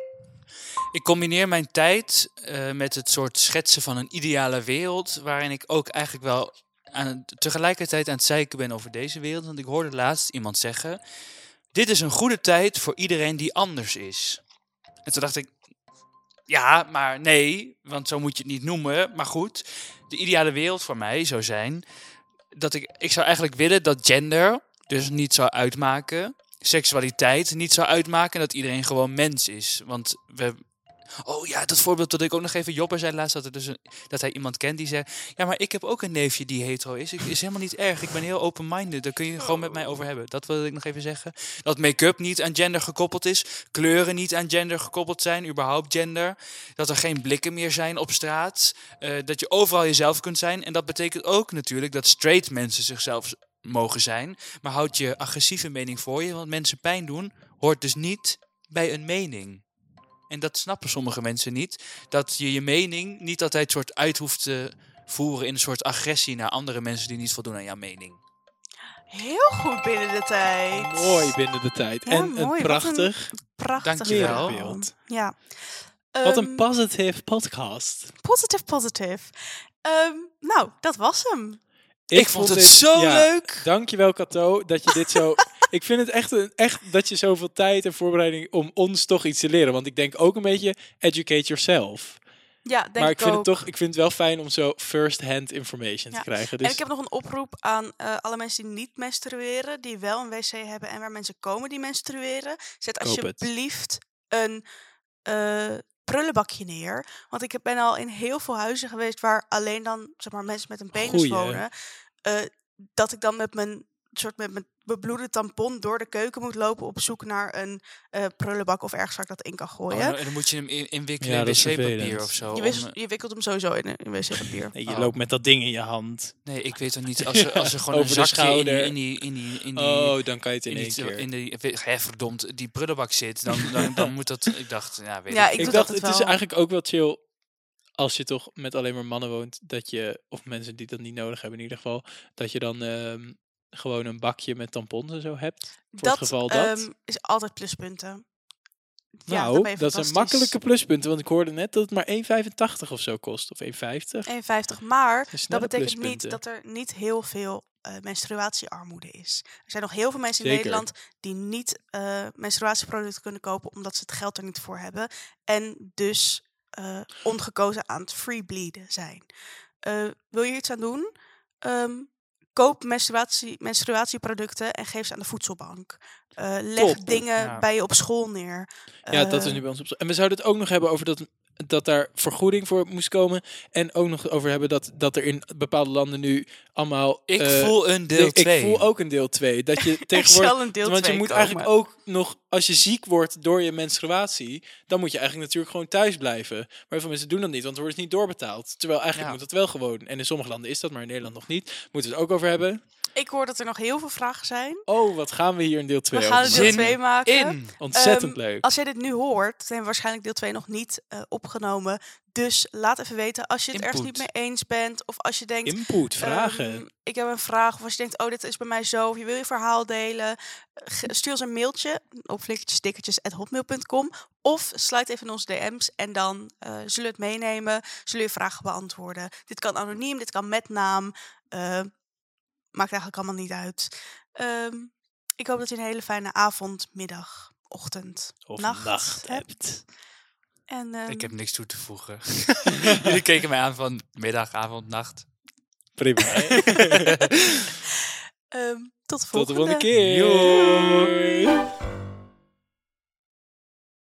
Ik combineer mijn tijd eh, met het soort schetsen van een ideale wereld... waarin ik ook eigenlijk wel aan, tegelijkertijd aan het zeiken ben over deze wereld. Want ik hoorde laatst iemand zeggen... Dit is een goede tijd voor iedereen die anders is. En toen dacht ik... Ja, maar nee, want zo moet je het niet noemen. Maar goed, de ideale wereld voor mij zou zijn... dat ik, ik zou eigenlijk willen dat gender dus niet zou uitmaken... seksualiteit niet zou uitmaken... en dat iedereen gewoon mens is. Want we... Oh ja, dat voorbeeld dat ik ook nog even... Jobber zei laatst dat, er dus een, dat hij iemand kent die zei... Ja, maar ik heb ook een neefje die hetero is. Ik, is helemaal niet erg. Ik ben heel open-minded. Daar kun je het gewoon met mij over hebben. Dat wilde ik nog even zeggen. Dat make-up niet aan gender gekoppeld is. Kleuren niet aan gender gekoppeld zijn. Überhaupt gender. Dat er geen blikken meer zijn op straat. eh, dat je overal jezelf kunt zijn. En dat betekent ook natuurlijk dat straight mensen zichzelf z- mogen zijn. Maar houd je agressieve mening voor je. Want mensen pijn doen hoort dus niet bij een mening. En dat snappen sommige mensen niet. Dat je je mening niet altijd soort uit hoeft te voeren in een soort agressie naar andere mensen die niet voldoen aan jouw mening.
Heel goed binnen de tijd.
Mooi binnen de tijd.
Ja,
en
mooi,
een
wat een-
prachtig
Prachtig
Dankjewel.
verhaal. Ja. Ehm,
Wat een positive podcast.
Positive, positive. Ehm, nou, dat was hem.
Ik, vond het zo
ja,
leuk!
Dankjewel, Cato, dat je dit zo... ik vind het echt, een, echt dat je zoveel tijd en voorbereiding om ons toch iets te leren. Want ik denk ook een beetje educate yourself.
Ja, denk
maar ik, vind
ook.
het toch, ik vind het wel fijn om zo first-hand information
Ja.
te krijgen.
En
Dus
ik heb nog een oproep aan eh, alle mensen die niet menstrueren, die wel een wc hebben en waar mensen komen die menstrueren. Zet
Koop het.
alsjeblieft een eh, prullenbakje neer. Want ik ben al in heel veel huizen geweest waar alleen dan zeg maar, mensen met een penis
Goeie.
wonen. eh, dat ik dan met mijn soort met mijn bebloede tampon door de keuken moet lopen op zoek naar een eh, prullenbak of ergens waar ik dat in kan
Oh,
gooien.
en
nou,
dan- en dan moet je hem in- inwikkelen
Ja,
in
dat is
wc-papier
vervelend.
of zo.
je,
om,
wist,
eh,
je wikkelt hem sowieso in, in wc-papier.
Nee, je
Oh.
loopt met dat ding in je hand.
nee, ik weet het niet. Als er, als er gewoon een
Over de
zakje in die,
schouder.
in die, in die, in die,
Oh, dan kan je het in
in
één
die,
keer.
in die, hè, verdomd, die prullenbak zit, dan, dan, dan moet dat... Ik dacht, ja, weet
Ja,
ik.
ik-
ik
doe
dacht,
dat
het
wel.
is eigenlijk ook wel chill als je toch met alleen maar mannen woont, dat je, of mensen die dat niet nodig hebben in ieder geval, dat je dan ehm, gewoon een bakje met tampons en zo hebt. Voor
dat
het geval dat.
ehm, is altijd pluspunten.
nou,
dan ben je
dat zijn
fantastisch.
makkelijke pluspunten, want ik hoorde net dat het maar 1,85 of zo kost, of 1,50.
51, maar
Een snelle
dat betekent niet
pluspunten.
dat er niet heel veel eh, menstruatiearmoede is. Er zijn nog heel veel mensen in
Zeker.
Nederland die niet eh, menstruatieproducten kunnen kopen omdat ze het geld er niet voor hebben. En dus eh, ongekozen aan het freebleeden zijn. Eh, wil je iets aan doen? Ehm, koop menstruatie, menstruatieproducten en geef ze aan de voedselbank. Eh, leg
Top.
dingen
Ja.
bij je op school neer.
Ja, dat is
Eh,
nu bij ons op. En we zouden het ook nog hebben over dat, dat daar vergoeding voor moest komen. En ook nog over hebben dat, dat er in bepaalde landen nu allemaal.
Ik
eh,
voel een
de-
deel 2.
Ik voel ook een deel 2. Dat je
Er
tegenwoordig.
zal een deel
Want je
twee
moet
komen.
eigenlijk ook nog, als je ziek wordt door je menstruatie, dan moet je eigenlijk natuurlijk gewoon thuis blijven. Maar heel veel mensen doen dat niet, want er wordt niet doorbetaald. Terwijl eigenlijk
Ja.
moet dat wel gewoon. En in sommige landen is dat, maar in Nederland nog niet. Moeten we het ook over hebben.
Ik hoor dat er nog heel veel vragen zijn.
Oh, wat gaan we hier in deel 2
We gaan er deel
Zin
2 maken.
in.
Ontzettend
Ehm,
leuk.
Als jij dit nu hoort, zijn we waarschijnlijk deel 2 nog niet eh, opgenomen. Dus laat even weten als je het ergens niet
Input.
mee eens bent. Of als je denkt,
Input, vragen.
ehm, ik heb een vraag. Of als je denkt, oh, dit is bij mij zo. Of je wil je verhaal delen. Ge- Stuur ons een mailtje op flikkertjesdikkertjes.hotmail.com. Of sluit even in onze DM's en dan eh, zullen we het meenemen. Zullen we je vragen beantwoorden. Dit kan anoniem, dit kan met naam. eh, maakt eigenlijk allemaal niet uit. Ehm, ik hoop dat je een hele fijne avond, middag, ochtend,
of
nacht, hebt.
hebt.
En ehm,
Ik heb niks toe te voegen. Jullie keken mij aan van middag, avond, nacht.
Prima.
ehm, tot de volgende.
Tot de volgende keer.
Doei.